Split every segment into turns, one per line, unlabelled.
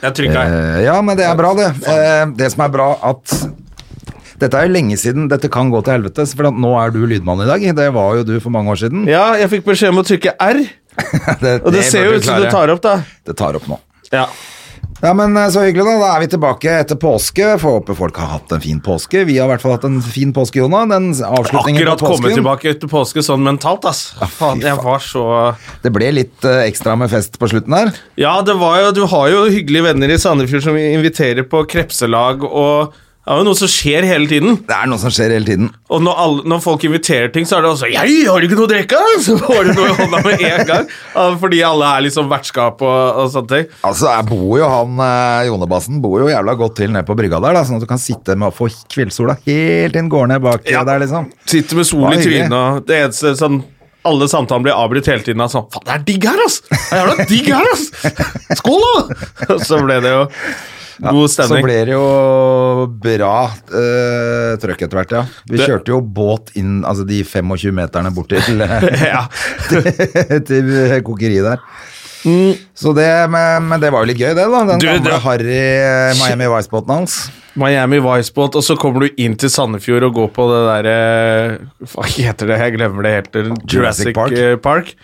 Jeg trykka.
Eh, ja, men det er bra, det. Eh, det som er bra, at dette er jo lenge siden. Dette kan gå til helvete, for at nå er du lydmann i dag. Det var jo du for mange år siden.
Ja, jeg fikk beskjed om å trykke R, og det, ser jo ut som du tar opp, da.
Det tar opp nå.
Ja.
Ja, men eh, Så hyggelig, da. Da er vi tilbake etter påske. Får håpe folk har hatt en fin påske. Vi har i hvert fall hatt en fin påske, Jona. Den avslutningen
Akkurat
på
kommet
påsken.
tilbake etter påske sånn mentalt, ass. Faen, jeg var så
Det ble litt eh, ekstra med fest på slutten her.
Ja, det var jo, du har jo hyggelige venner i Sandefjord som inviterer på krepselag og det er jo noe som skjer hele tiden,
Det er noe som skjer hele tiden.
og når, alle, når folk inviterer ting, så er det også 'Jeg har ikke noe å drikke!' av!» Så får du noe i hånda med en gang, ja, fordi alle er liksom vertskap og, og sånne ting.
Altså, jeg bor jo han, eh, Jonebassen bor jo jævla godt til nede på brygga der, da, sånn at du kan sitte med og få kveldssola helt inn, går ned bak
Ja.
der, liksom.
Sitter med
Hva
sol
er
i
hyggelig?
trynet og det eneste sånn alle samtalene blir avbrutt hele tiden av sånn Faen, det er digg her, ass! Det er jævla digg her, ass! Skål, da! Og så ble det jo god
Så
stemning.
ble det jo bra eh, trøkk etter hvert, ja. Vi
Det-
kjørte jo båt inn, altså de 25 meterne bort til,
Ja.
til kokeriet der. Så det, men, men det var jo litt gøy, det, da. Den
Mm. Du,
gamle
det-
Harry eh, Miami Vice-båten hans.
Miami Vicebåt, og så kommer du inn til Sandefjord og går på det derre Hva heter det? Jeg glemmer det helt. Jurassic
Jurassic Park.
Park. Park.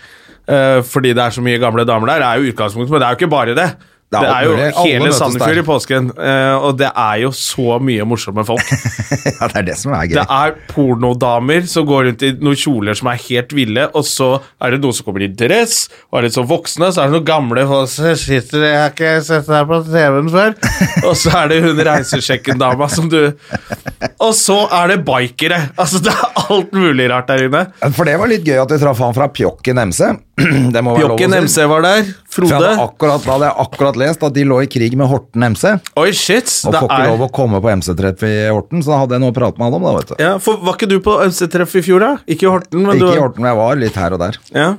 Eh, fordi det er så mye gamle damer der, er jo utgangspunktet, men det er jo ikke bare det. Det
er
er,
alt
jo
mulig. Alle
hele
møtes
Sandefjord
der.
i påsken, eh, og det er jo så mye morsomme folk.
ja, det er det som er gøy.
Det er pornodamer som går rundt i noen kjoler som er helt ville, og så er det noen som kommer i dress og er litt sånn voksne, så er det noen gamle folk som sitter Jeg har ikke sett deg på TV-en før. Og så er det hun reisesjekken-dama som du Og så er det bikere. Altså, det er alt mulig rart der inne.
For det var litt gøy at vi traff han fra Pjokken MC. Det må være lov å
Jokken
si.
MC var der.
For jeg
Frode.
hadde akkurat, da hadde jeg akkurat lest at de lå i krig med Horten MC.
Oi, shit.
Og
Det
får ikke lov
er
å komme på MC-treff i Horten, så da hadde jeg noe å prate med han om. da, vet du.
ja, for Var ikke du på MC-treff i fjor, da? Ikke i Horten, men du
Ikke i Horten, men jeg var litt her og der.
Ja.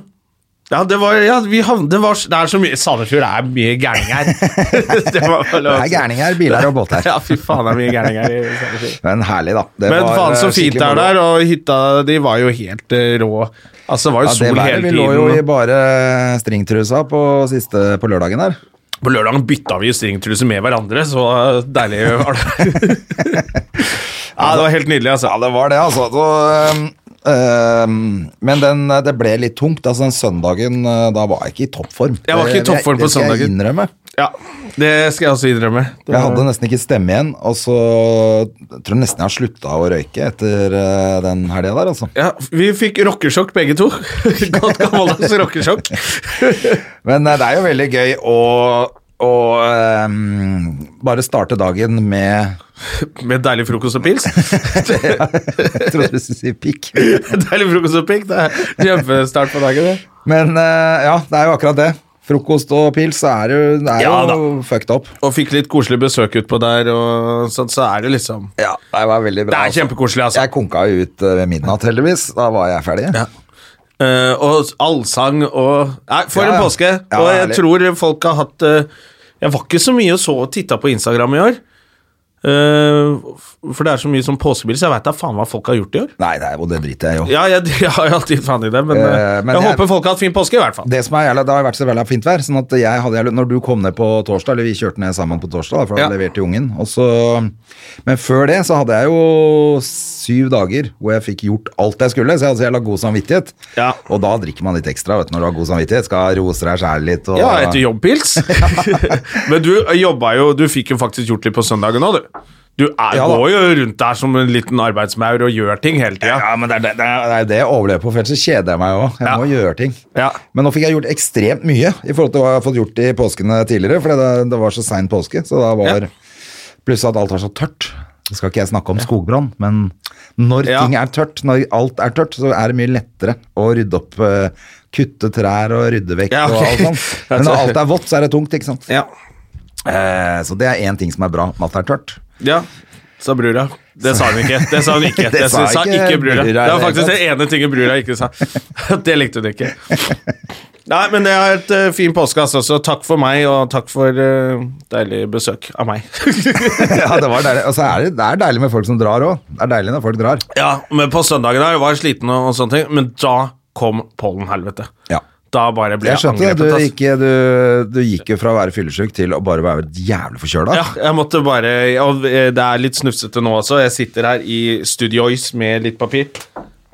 Ja, det var, ja vi havn- det, var, det er så mye Sandefjord er mye gærning her. det, var bare
Det
lov å
er
si.
gærninger, biler og båter.
Ja, fy faen, det er mye gærning her i Sandefjord.
Men herlig, da. Det
Men
var,
faen så
eh,
fint det
skikkelig moro.
er der, og hytta de var jo helt eh, rå. Altså, det var
Ja,
jo
det
sol
været,
hele
vi lå jo i
tiden.
bare stringtrusa på, siste, på lørdagen der.
På lørdagen bytta vi stringtruse med hverandre, så deilig var det. ja, det var helt nydelig, altså.
Ja, det var det, altså. Så, øhm, øhm, men den, eh, det ble litt tungt. Altså, den søndagen eh, Da var jeg ikke i toppform.
Jeg var ikke
Det-
i
det-
toppform på
Det skal jeg
søndagen.
innrømme.
Ja, det skal jeg også innrømme. Det
Jeg
var-
hadde nesten ikke stemme igjen, og så tror jeg nesten jeg har slutta å røyke etter eh, den helga der, altså.
ja, vi fikk rockesjokk begge to. Godt gammeldags rockesjokk.
Men eh, det er jo veldig gøy å, å ehm, bare starte dagen med
Med deilig frokost og pils.
Jeg trodde du skulle si pikk.
deilig frokost og pikk. Det er kjempestart på dagen. det.
Men eh, ja, det er jo akkurat det. Frokost og pils så er det jo, det er
Ja,
jo fucked up.
Og fikk litt koselig besøk utpå der, og sånn, så er det liksom
Ja, det var veldig
Det
bra.
er kjempekoselig, altså.
Jeg konka jo ut eh, ved midnatt, heldigvis. Da var jeg ferdig.
Ja. Eh, og allsang og Nei, for
Ja,
en
ja.
påske!
Ja,
og jeg
herlig.
tror folk har hatt eh, Jeg var ikke så mye og så og titta på Instagram i år. Eh, for det er så mye sånn påskebilder, så jeg veit da faen hva folk har gjort i år.
Nei, nei, og det driter jeg jo.
Ja, jeg, jeg har jo alltid faen i det, men,
Eh, men
jeg,
jeg-
håper folk har hatt fin påske, i hvert fall.
Det som er jævla, det har vært så veldig fint vær, sånn at jeg hadde jævla, når du kom ned på torsdag, eller vi kjørte ned sammen på torsdag, da, for da
Ja.
leverte ungen, og så, men før det så hadde jeg jo syv dager hvor jeg fikk gjort alt jeg skulle, så jeg hadde så jævla god samvittighet.
Ja.
Og da drikker man litt ekstra, vet du, når du har god samvittighet, skal rose deg selv litt. Og,
Ja, etter jobbpils. men du jobba jo Du fikk jo faktisk gjort litt på søndagen òg, du. Du er,
Ja, da.
går jo rundt der som en liten arbeidsmaur og gjør ting hele tida.
Ja, men det er det, det, er- det, er det jeg overlever på, for ellers så kjeder jeg meg jo. Jeg
Ja.
må gjøre ting.
Ja.
Men nå fikk jeg gjort ekstremt mye i forhold til hva jeg har fått gjort i påskene tidligere, for det, det var så sein påske, så da var
Ja.
Pluss at alt var så tørt. Det skal ikke jeg snakke om skogbrann, men når
Ja.
ting er tørt, når alt er tørt, så er det mye lettere å rydde opp, eh, kutte trær og rydde vekk
Ja, ok.
og alt sånt. Men når alt er vått, så er det tungt, ikke sant?
Ja.
Eh, så det er én ting som er bra. Matt er tørt.
Ja, sa brura. Det sa hun ikke. Det sa hun ikke. Det sa, ikke brura. Det var faktisk det ene tinget brura ikke sa. Det likte hun ikke. Nei, men det er et eh, fin påskeass også. Takk for meg, og takk for eh, deilig besøk av meg.
ja, det var deilig. Og så er det, det er deilig med folk som drar òg. Det er deilig når folk drar.
ja, men på søndagen her var jeg sliten og, og sånne ting, men da kom pollenhelvete.
Ja.
Da bare ble
Jeg
jeg,
skjønte det.
angrepet.
Du
ass.
gikk, du, du gikk jo fra å være fyllesyk til å bare være jævlig forkjøla.
Ja, jeg måtte bare Og eh, det er litt snufsete nå også. Jeg sitter her i studiois med litt papir.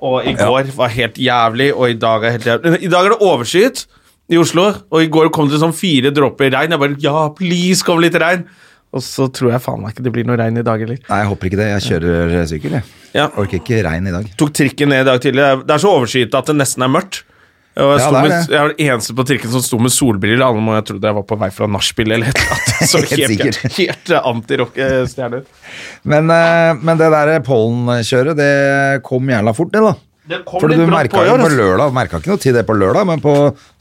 Og i går var helt jævlig, og i dag er helt jævlig. I dag er det overskyet i Oslo, og i går kom det sånn fire dråper regn. Jeg bare Ja, please, kom litt regn! Og så tror jeg faen meg ikke det blir noe regn i dag heller.
Nei, jeg håper ikke det. Jeg kjører sykkel, jeg.
Ja.
Orker ikke regn i dag.
Tok trikken ned i dag tidlig. Det er så overskyet at det nesten er mørkt. Og jeg,
Ja,
sto
det er
med,
det.
jeg var den eneste på trikken som sto med solbriller. Alle må jeg trodde jeg var på vei fra nachspiel eller et eller annet. Så
Helt
helt,
sikkert.
helt eh, antirock-stjerne.
Men, eh, men det der pollenkjøret, det kom jævla fort, det, da.
Det kom
For
litt
du
brått
merka
på i
jo
år,
på
altså.
lørdag, merka ikke noe til det på lørdag, men på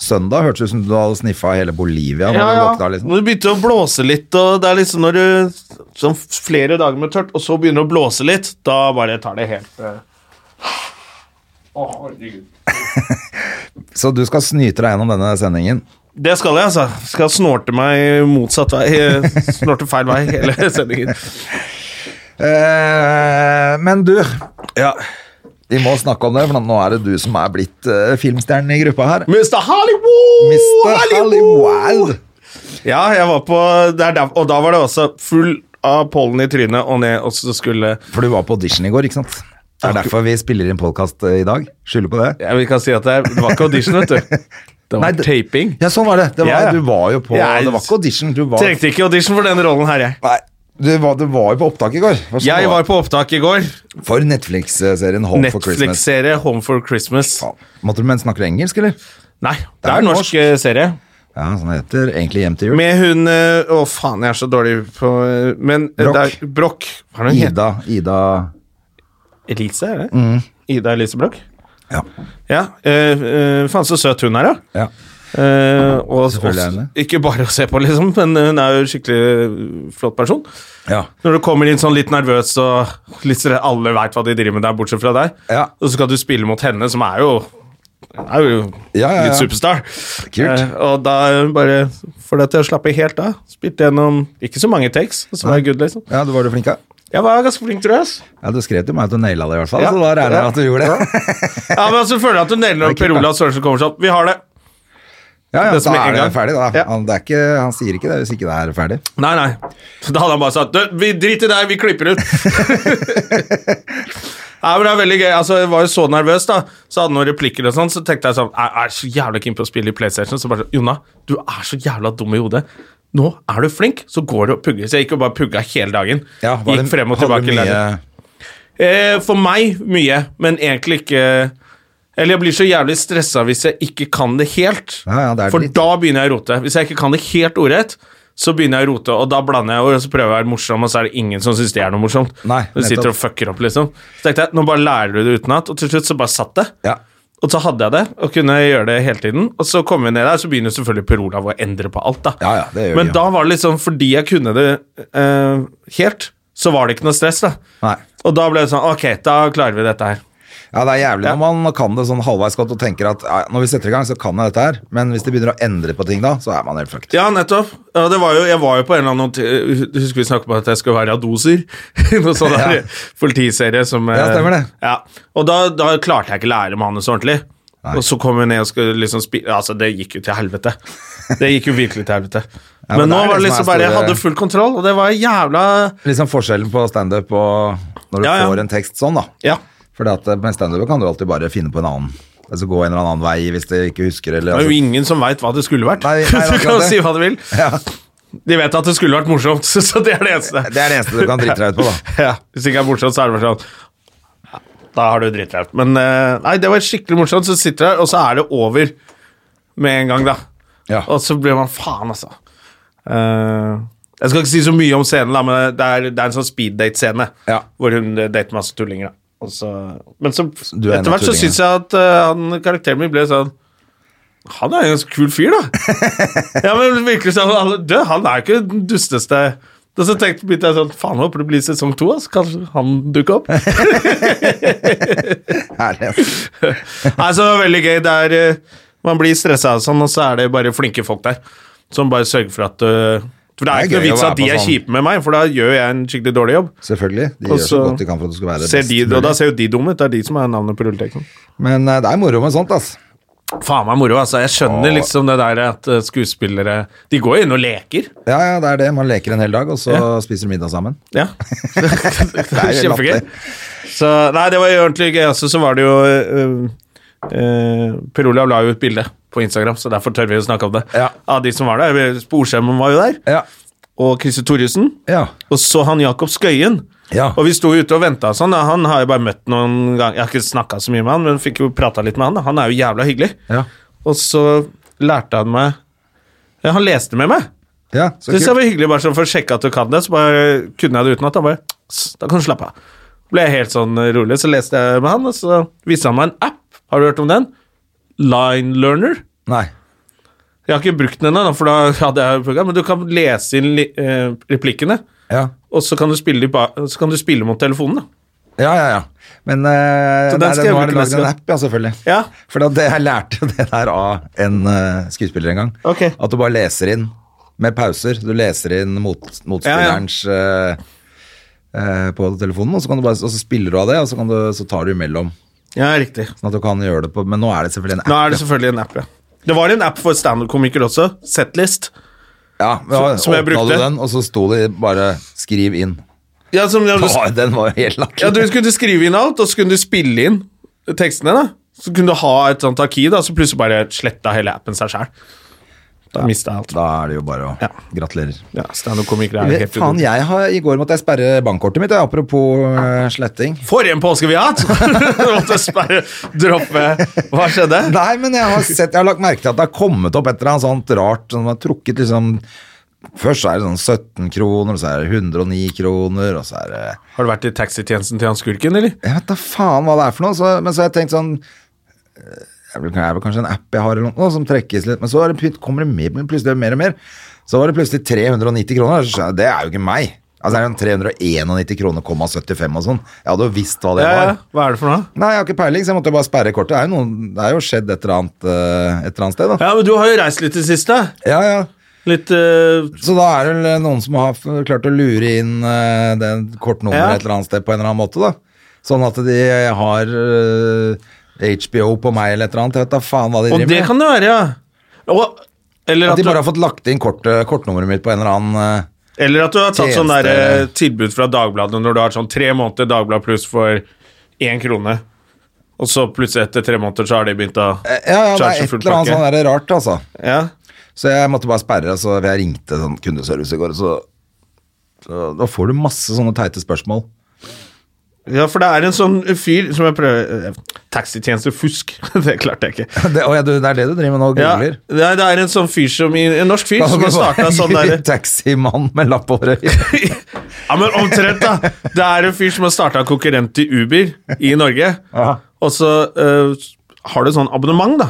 søndag hørtes det ut som du hadde sniffa hele Bolivia. Når du våkna, liksom.
Når det begynte å blåse litt, og det er liksom når du sånn flere dager med tørt, og så begynner det å blåse litt, da bare tar det helt eh. Å, herregud.
Så du skal snyte deg gjennom denne sendingen.
Det skal jeg, altså. Skal snorte meg motsatt vei. eh, Snorte feil vei hele sendingen.
Eh, men du,
Ja.
vi må snakke om det, for nå er det du som er blitt eh, filmstjernen i gruppa her.
Mr. Hollywood!
Mr. Hollywood!
Ja, jeg var på der, der, Og da var det også full av pollen i trynet og ned, og så skulle
For du var på audition i går, ikke sant? Det er derfor vi spiller inn podkast i dag. Skylder på det.
Ja, Vi kan si at det, det var ikke audition, vet du. Det var
Nei, det-
taping.
Ja, sånn var det. det var,
Ja, ja.
Du var jo på
Jeg-
Det var ikke audition, du var
Trengte ikke audition for denne rollen her, jeg.
Nei, du var, du var jo på opptak i går. Hva skal
Jeg
det
var
være?
på opptak i går.
For Netflix-serien Home for Christmas.
Netflix-serie Home for Christmas.
Ja. Måtte du men snakker du engelsk, eller?
Nei, det
er
er en norsk eh, serie.
Ja, sånn heter egentlig Hjem til jul.
Med hun eh, Å, faen, jeg er så dårlig på eh, Men eh,
Broch.
det er Broch. Hva er det hun heter?
Ida, Ida
Elise, er det? Ida Elise Broch?
Ja.
Ja. Eh, eh, faen, så søt hun er, da.
ja.
Eh, og,
Selvfølgelig er hun
og, ikke bare å se på, liksom, men hun er jo en skikkelig eh, flott person.
ja.
Når du kommer inn sånn litt nervøs og litt sånn, alle veit hva de driver med der, bortsett fra deg,
Ja.
og så skal du spille mot henne, som er jo, er jo
Ja, ja, ja.
litt superstar.
Kult.
Eh, og da bare for deg til å slappe helt av, spilte gjennom ikke så mange takes, som er good, liksom.
ja, du var jo flink, da.
Jeg var ganske flink, tror jeg. ass.
Ja, du skrev til meg at du naila det, i hvert fall.
Ja.
Så da regner jeg med at du gjorde det.
Ja, men altså, føler jeg at du nailer
Det
opp
er
Per
kult, da.
Olav Sørensen kommer sånn. Vi har det.
Ja, ja,
Det som
da
er en
er det
gang.
ferdig, da.
Ja.
Han, det er ikke, han sier ikke det hvis ikke det er ferdig.
Nei, nei. Så da hadde han bare sagt «Du, vi Drit i deg, vi klipper ut. Nei, men det er veldig gøy. Altså, jeg var jo så nervøs, da. Så hadde han noen replikker og sånn, så tenkte jeg sånn Jeg er så jævla keen på å spille i PlayStation. Så bare sånn Jonna, du er så jævla dum i hodet. Nå er du flink, så går du og pugger. Så jeg gikk og bare pugga hele dagen.
Ja, var
gikk
det-
frem og
hadde
tilbake. i
mye-
leiligheten. Eh, for meg mye, men egentlig ikke Eller jeg blir så jævlig stressa hvis jeg ikke kan det helt.
Ja, ja, det er
for
litt-
da begynner jeg å rote. Hvis jeg ikke kan det helt ordrett, så begynner jeg å rote, og da blander jeg ord, og så prøver jeg å være morsom, og så er det ingen som syns det er noe morsomt.
Nei,
du sitter
nettopp.
og fucker opp, liksom. Så tenkte jeg, nå bare lærer du det utenat, og til slutt så bare satt det.
Ja.
Og så hadde jeg det, og kunne gjøre det hele tiden. Og så kom vi ned der, så begynner selvfølgelig Per Olav å endre på alt, da.
Ja, ja, det gjør vi
Men
jo.
da var det liksom, fordi jeg kunne det eh, helt, så var det ikke noe stress, da.
Nei.
Og da ble det sånn, ok, da klarer vi dette her.
Ja, det er jævlig
Ja.
når man kan det sånn halvveis godt og tenker at ja, når vi setter i gang, så kan jeg dette her, men hvis det begynner å endre på ting da, så er man helt fucked.
Ja, nettopp. Ja, det var jo, jeg var jo på en eller annen noti- Husker vi snakket om at jeg skulle være adoser? Noe sånn der
Ja.
politiserie som eh,
Ja, stemmer det.
Ja. Og da, da klarte jeg ikke lære manuset ordentlig. Og så kom jeg ned og skulle liksom spille Altså, det gikk jo til helvete. Det gikk jo virkelig til helvete.
Ja,
men
men det
nå
er
var det
det som
liksom
er
bare Jeg
store-
hadde full kontroll, og det var jævla
Liksom forskjellen på standup og når du
Ja, ja.
får en tekst sånn, da.
Ja.
For med standup kan du alltid bare finne på en annen Altså gå en eller annen vei hvis du ikke husker eller
Det er jo
altså,
ingen som veit hva det skulle vært.
Nei, nei, det er
du
akkurat
kan
det.
si hva du vil.
Ja.
De vet at det skulle vært morsomt, så, så det er det eneste.
Det er det eneste du kan drite deg ut på, da.
Ja, hvis det ikke er morsomt, så er det bare sånn ja, Da har du drittrevet. Men eh, nei, det var skikkelig morsomt. Så sitter du her, og så er det over med en gang, da.
Ja.
Og så blir man faen, altså. Eh, jeg skal ikke si så mye om scenen, da, men det er, det er en sånn speeddate-scene
Ja.
hvor hun eh, dater masse tullinger. da. Og så, men så
Du er en av
etter hvert så
tullingene.
syns jeg at eh, han, karakteren min ble sånn Han er jo en ganske kul fyr, da. ja, men virkelig sånn, han, du, han er jo ikke den dusteste Og så tenkte begynte jeg sånn Faen, håper det blir sesong to, altså. Kanskje han dukker opp.
Herlighet.
Nei, så det var veldig gøy. Det er, eh, man blir stressa og sånn, og så er det bare flinke folk der som bare sørger for at eh, For
Det
det er,
er
ikke
gøy
noe
å
vits at
være
de
på
er
sånn.
kjipe med meg, for da gjør jeg en skikkelig dårlig jobb.
Selvfølgelig. De
Og
gjør så
så
godt de kan for at du skal være
Ser
best
de,
mulig.
og da ser jo de dumme ut. Det er de som er navnet på rulleteksten.
Men eh, det er moro med sånt, ass.
Faen meg moro, altså. Jeg skjønner
Åh.
liksom det der at eh, skuespillere De går jo inn og leker.
Ja, ja, det er det. Man leker en hel dag, og så spiser du middag sammen.
Ja. det
jo
er kjempegøy.
latterlig.
Så nei, det var jo ordentlig gøy. Altså, så var det jo eh, eh, Per Olav la jo ut bilde på Instagram, så derfor tør vi å snakke om det.
Ja.
Av de som var der. Sporskjermen var jo der.
Ja.
Og Christer Thoresen.
Ja.
Og så han Jakob Skøyen.
Ja.
Og vi sto jo ute og venta og sånn. da. Han har jeg bare møtt noen ganger. Jeg har ikke snakka så mye med han, men fikk jo prata litt med han. da. Han er jo jævla hyggelig.
Ja.
Og så lærte han meg ja, Han leste med meg.
ja så
Så det
kult.
var hyggelig, bare sånn for å sjekke at du kan det. Så bare kunne jeg det utenat. Da bare «Tss, Da kan du slappe av. Ble jeg helt sånn rolig. Så leste jeg med han, og så viste han meg en app. Har du hørt om den? Line Learner.
Nei.
Jeg har ikke brukt den ennå, da, for da hadde jeg program, men du kan lese inn li- eh, replikkene.
Ja.
Og så kan du spille, i ba- så kan du spille mot telefonen, da.
Ja, ja, ja. Men eh,
Så den
nei,
skal
det,
jeg
nå har de
bruke
lagd
neste
en
gang.
app, ja, selvfølgelig.
Ja.
For da, det, jeg lærte jo det der av en eh, skuespiller en gang.
Ok.
At du bare leser inn med pauser. Du leser inn mot, motspillerens eh, eh, på telefonen, og så, kan du bare, og så spiller du av det, og så, kan du, så tar du imellom.
Ja, riktig.
Sånn at du kan gjøre det på Men nå er det selvfølgelig en app.
Nå er det selvfølgelig en app, ja. Det var en app for standup-komikere også. Setlist.
Ja, ja,
som- som jeg
åpna
brukte.
Du den, og så sto det bare 'skriv inn'.
Ja, som, ja, du,
Å, den var jo helt
ja, du
latterlig.
skulle skrive inn alt, og så kunne du spille inn tekstene. da. Så kunne du ha et sånt arkiv, da, så plutselig bare sletta hele appen seg sjæl. Da mista jeg alt.
Da er det jo bare å
Ja.
Gratulerer.
Ja, Standup-komikere er
Vet-
helt
Faen,
utrolig.
jeg har, I går måtte jeg sperre bankkortet mitt, jeg, apropos eh, sletting.
For en påske vi har hatt! Måtte sperre droppe Hva skjedde?
Nei, men jeg har, sett, jeg har lagt merke til at det har kommet opp et eller annet sånt rart. Sånn, man har trukket liksom Først så er det sånn 17 kroner, og så er det 109 kroner, og så er det
Har du vært i taxitjenesten til han skurken, eller?
Jeg vet da faen hva det er for noe. Så, men så har jeg tenkt sånn eh, Det er vel kanskje en app jeg har eller noe som trekkes litt, men så er det, plut- kommer det mer, men plutselig mer og mer. Så var det plutselig 390 kroner. så skjønner jeg, Det er jo ikke meg. Altså det er jo 391 kroner, komma 75 og sånn. Jeg hadde jo visst hva det
Ja, ja.
var.
Hva er det for noe?
Nei, jeg har ikke peiling, så jeg måtte bare sperre kortet. Det er jo, noen, det er jo skjedd et eller annet, eh, et eller annet sted, da.
Ja, men Du har jo reist litt i det siste.
Ja, ja.
Litt eh,
Så da er det vel noen som har f- klart å lure inn eh, det kortnummeret
Ja.
et eller annet sted på en eller annen måte, da. Sånn at de har eh, HBO på meg eller et eller annet. Jeg vet da faen hva de
Og
driver
det kan det være, ja. Og, eller,
At
at
de
du,
bare har fått lagt inn kort, eh, kortnummeret mitt på en eller annen eh,
eller at du har tatt sånn der, eh,
Tjeneste-
tilbud fra Dagbladet når du har sånn tre måneder Dagblad pluss for én krone, og så plutselig etter tre måneder så har de begynt å
Ja, eh, ja, det er et eller annet sånn der rart, altså.
Ja.
Så jeg måtte bare sperre, og så jeg ringte sånn kundeservice i går, og så, så Da får du masse sånne teite spørsmål.
ja, for det er en sånn fyr som jeg prøver eh, Taxitjenestefusk. det klarte jeg ikke.
Det, å, ja, du, det er det du driver med nå, og
Ja,
googler?
det er- det er en sånn fyr som i- En norsk fyr som har starta sånn derre
Taximann med lapp over øyet.
Ja, men omtrent, da. Det er en fyr som har starta en konkurrent til Uber i Norge. Og så eh, har du sånn abonnement, da.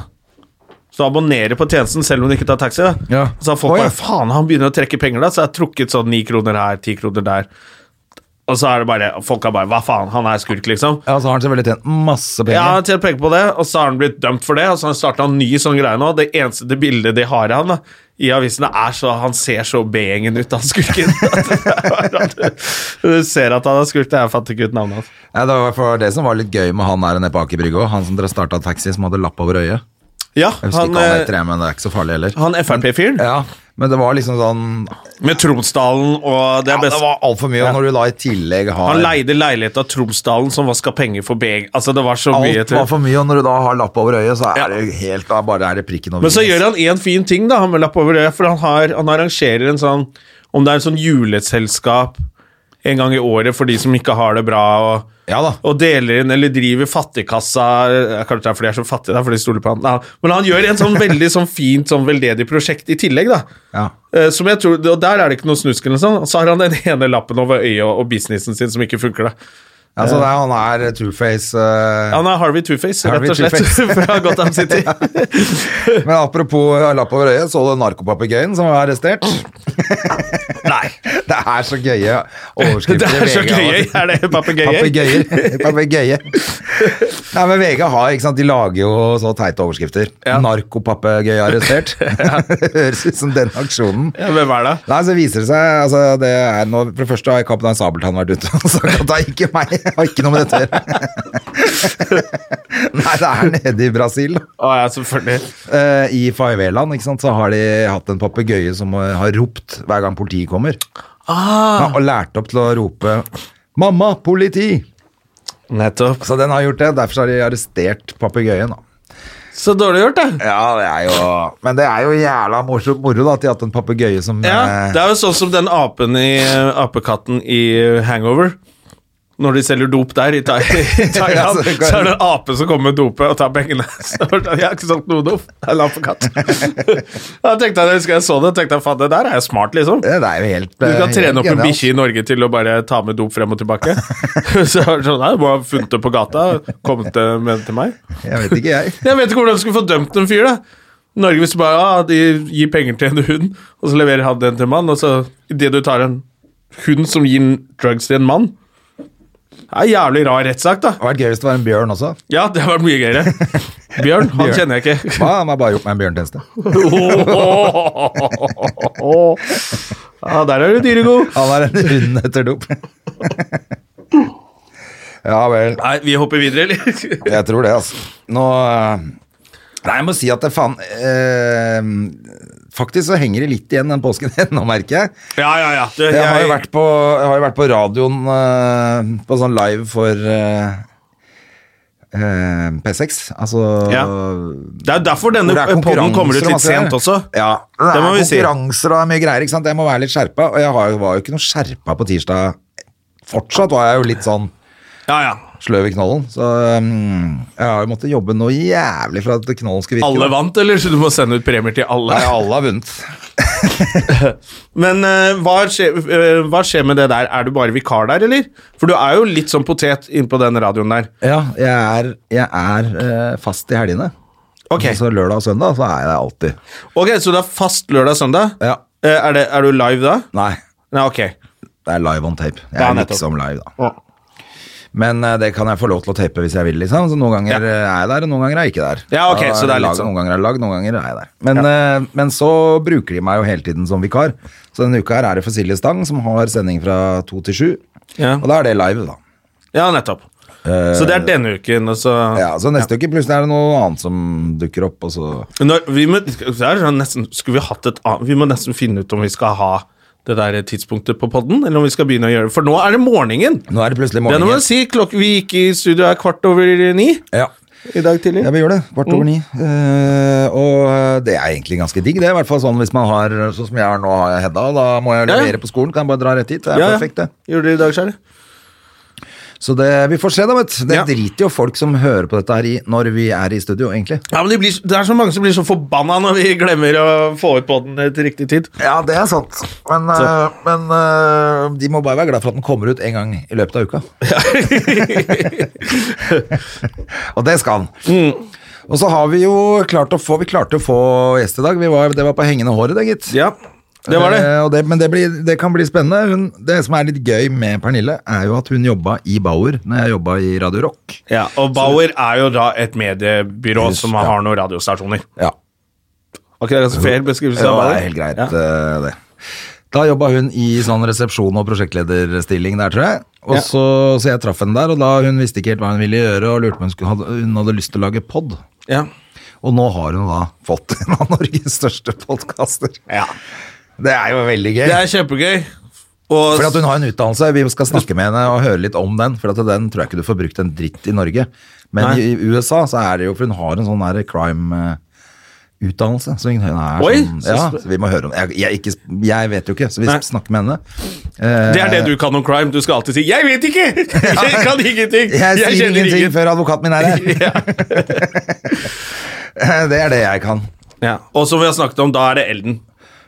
Så du abonnerer på tjenesten selv om du ikke tar taxi. da.
Ja.
Så har folk
Å, ja.
bare Faen, han begynner å trekke penger, da. Så jeg har trukket sånn ni kroner her, ti kroner der. Og så er det bare Folk er bare Hva faen, han er skurk, liksom.
Ja, så har han selvfølgelig tjent masse
Ja, han
penger.
har tjent penger på det, og så har han blitt dømt for det. Og så har han starta en ny sånn greie nå. Det eneste det bildet de har av han da, i avisene, er så han ser så B-gjengen ut, han skurken. At det er bare- du ser at han har skurket. Jeg fant ikke ut navnet hans.
Ja. det var for det som var litt gøy med han her nede på Aker Brygge òg. Han som dere starta taxi, som hadde lapp over øyet.
Ja,
Jeg husker
han,
ikke hva han
eh,
heter, jeg, men det er ikke så farlig heller.
han Frp-fyren
Ja, men det var liksom sånn
med Tromsdalen og
ja,
det er
Det
best.
var altfor mye, og når du da i tillegg har
Han leide leilighet av Tromsdalen som vaska penger for B-gjengen. Altså, det var så mye.
Alt
til-
var for mye, og når du da har lapp over øyet, så er det jo helt da bare er det prikken over
Men så
i.
gjør han én fin ting, da, han med lapp over øyet, for han, har, han arrangerer en sånn Om det er en sånn juleselskap en gang i året for de som ikke har det bra, og,
Ja da.
og deler inn eller driver fattigkassa Jeg kan ikke det er fordi jeg er så fattig, det er fordi jeg stoler på han. Nei, men han gjør en sånn veldig sånn fint, sånn veldedig prosjekt i tillegg, da.
Ja.
Eh, Som jeg tror, og Der er det ikke noe snusk, eller sånn. og så har han den ene lappen over øyet og og businessen sin som ikke funker. da
Altså, det er, han er two-face. eh,
Han er Harvey Two-Face, rett
Harvey
og slett,
Two-Face.
fra Gotham City.
Men apropos eh, lapp over øyet, så du narkopapegøyen som var arrestert? Nei. Det er så gøye
Det
overskrifter
er så gøy,
av og til.
er det papegøye?
Papegøyer. Papegøye. Nei, men VG har, ikke sant, de lager jo så teite overskrifter.
Ja.
Narkopapegøye arrestert. Høres ut som den aksjonen.
Ja, hvem er det?
Nei, så viser det seg altså, det er nå, For det første har Kaptein Sabeltann vært ute og sagt at det er ikke meg, jeg har ikke noe med dette å gjøre. Nei, det er nede i Brasil. da.
Å ja, selvfølgelig.
Eh, I Faveland ikke sant, så har de hatt en papegøye som eh, har ropt hver gang politiet kommer.
Ah.
Ja, og lært opp til å rope 'mamma, politi'!
Nettopp.
Så den har gjort det. Derfor så har de arrestert papegøyen. da.
Så dårlig gjort, da.
Ja, det er jo Men det er jo jævla morsomt moro da, at de har hatt en papegøye som
Ja,
eh,
det er jo sånn som den apen i eh, apekatten i eh, Hangover. Når de selger dop der i Thai- i Thailand,
Ja, så det går-
så er det en ape som kommer med dopet og tar pengene. Så er det sånn, Jeg har ikke solgt noe dop. Det er en apekatt. Da tenkte jeg, jeg husker jeg så det, tenkte jeg faen, det der er jo smart, liksom.
Det er jo helt
Du kan
eh,
trene
helt
opp en
genialt.
bikkje i Norge til å bare ta med dop frem og tilbake. Så er det sånn, nei, du må ha funnet det på gata, kommet det med til meg.
Jeg vet ikke, jeg.
Jeg vet ikke hvordan du skulle få dømt en fyr, da. Norge hvis du bare ah, de gir penger til en hund, og så leverer han den til en mann, og så idet du tar en hund som gir drugs til en mann Det er en jævlig rar rettssak, da.
Det hadde vært gøy hvis det var en bjørn også.
Ja, det hadde vært mye gøyere. Bjørn, han
Bjørn.
kjenner jeg ikke.
Hva om jeg bare gjort meg en bjørntjeneste?
Ja, der er du dyregod.
Han er en hund etter dop. ja vel.
Nei, vi hopper videre, eller?
Jeg tror det, altså. Nå eh, Nei, jeg må si at det faen eh, Faktisk så henger det litt igjen den påsken igjen, nå merker jeg.
Ja, ja, ja. Du,
Jeg har jo vært på, jeg har jo vært på radioen eh, på sånn live for eh, eh, P6, altså
Ja. Det er derfor denne
hvor det er altså.
podden kommer
konkurranser og
ut litt
masse greier.
sent også.
Ja, det,
Det
er
må vi si.
konkurranser og mye greier, ikke sant? Jeg må være litt skjerpa, og jeg har, var jo ikke noe skjerpa på tirsdag. Fortsatt var jeg jo litt sånn
Ja, ja.
sløv i knollen, så um, jeg har jo måttet jobbe noe jævlig for at knollen skal virke.
Alle vant, eller? Så du må sende ut premier til alle?
Nei, alle har vunnet.
Men eh, hva, skjer, eh, hva skjer med det der? Er du bare vikar der, eller? For du er jo litt som potet innpå den radioen der.
Ja, jeg er, jeg er eh, fast i helgene.
Ok,
Så lørdag og søndag så er jeg der alltid.
Ok, Så du er fast lørdag-søndag?
Ja.
Er, det- er du live da?
Nei,
Nei, ok.
det er live on tape. Jeg
Ja,
er
nettopp.
liksom live, da. Men eh, det kan jeg få lov til å tape hvis jeg vil, liksom. Så noen ganger eh, er jeg der, og noen ganger er jeg ikke der.
Ja, ok,
Da
så det er litt
lag-
sånn.
Noen ganger er jeg lagd, noen ganger er jeg der. Men, eh, men så bruker de meg jo hele tiden som vikar. Så denne uka her er det for Silje Stang, som har sending fra to til sju.
Ja.
Og da er det live, da.
Ja, nettopp. så det er denne uken, og så
Eh, Ja, så neste uke plutselig er det noe annet som dukker opp, og så
Når, vi, må, det er sånn nesten, skulle vi, hatt et, annet- vi må nesten finne ut om vi skal ha det der tidspunktet på podden, eller om vi skal begynne å gjøre det. For nå er det morgenen.
Nå er det plutselig
Det er
morgen.
noe å
igjen.
si. Klokk, vi gikk i studio her kvart over ni
Ja.
i dag tidlig.
Ja, vi gjør det. Kvart over ni. Eh, og det er egentlig ganske digg. Det er i hvert fall sånn hvis man har Sånn som jeg har nå, har jeg Hedda, og da må jeg
Ja, ja.
levere på skolen. Kan jeg bare dra rett hit. Det er
Ja, ja.
perfekt, det.
Gjorde det i dag, Skjær?
Så det, vi får se, da, vet du. Det
Ja.
driter jo folk som hører på dette her i når vi er i studio, egentlig.
Ja, men de blir, Det er så mange som blir så forbanna når vi glemmer å få ut podden til riktig tid.
Ja, det er sant. Men,
Så-
eh, men, eh, de må bare være glad for at den kommer ut en gang i løpet av uka. Og det skal den. Og så har vi jo klart å få Vi klarte å få gjest i dag. Vi var, det var på hengende håret, det, gitt.
Ja, det var det.
Eh, og det men det, blir, det kan bli spennende. Hun, det som er litt gøy med Pernille, er jo at hun jobba i Bauer når jeg jobba i Radio Rock.
Ja, Og Bauer er jo da et mediebyrå
Yes,
som
ja.
har noen radiostasjoner.
Ja,
Var ikke det ganske fair beskrivelse
Ja,
av
det
Bauer?
er helt greit,
Ja.
eh, det. Da jobba hun i sånn resepsjon- og prosjektlederstilling der, tror jeg. Og
Ja.
så, så jeg traff henne der, og da hun visste ikke helt hva hun ville gjøre, og lurte på om hun, skulle, hadde, hun hadde lyst til å lage pod.
Ja.
Og nå har hun da fått en av Norges største podkaster.
Ja.
Det er jo veldig gøy.
Det er kjempegøy. Og
For at hun har en utdannelse, vi skal snakke med henne og høre litt om den, for at den tror jeg ikke du får brukt en dritt i Norge. Men
Nei.
i i USA så er det jo, for hun har en sånn der crime eh, utdannelse, så hun er
Oi,
sånn,
så
ja,
sp-
så vi må høre om, jeg, jeg, ikke, jeg vet jo ikke, så vi
Nei.
skal snakke med henne.
det er det du kan om crime. Du skal alltid si 'jeg vet ikke'! Jeg kan ingenting!
Eh, Jeg sier
kjenner
ingenting
ingen.
før advokaten min er her. Eh, det er det jeg kan.
Ja. Og som vi har snakket om, da er det Elden.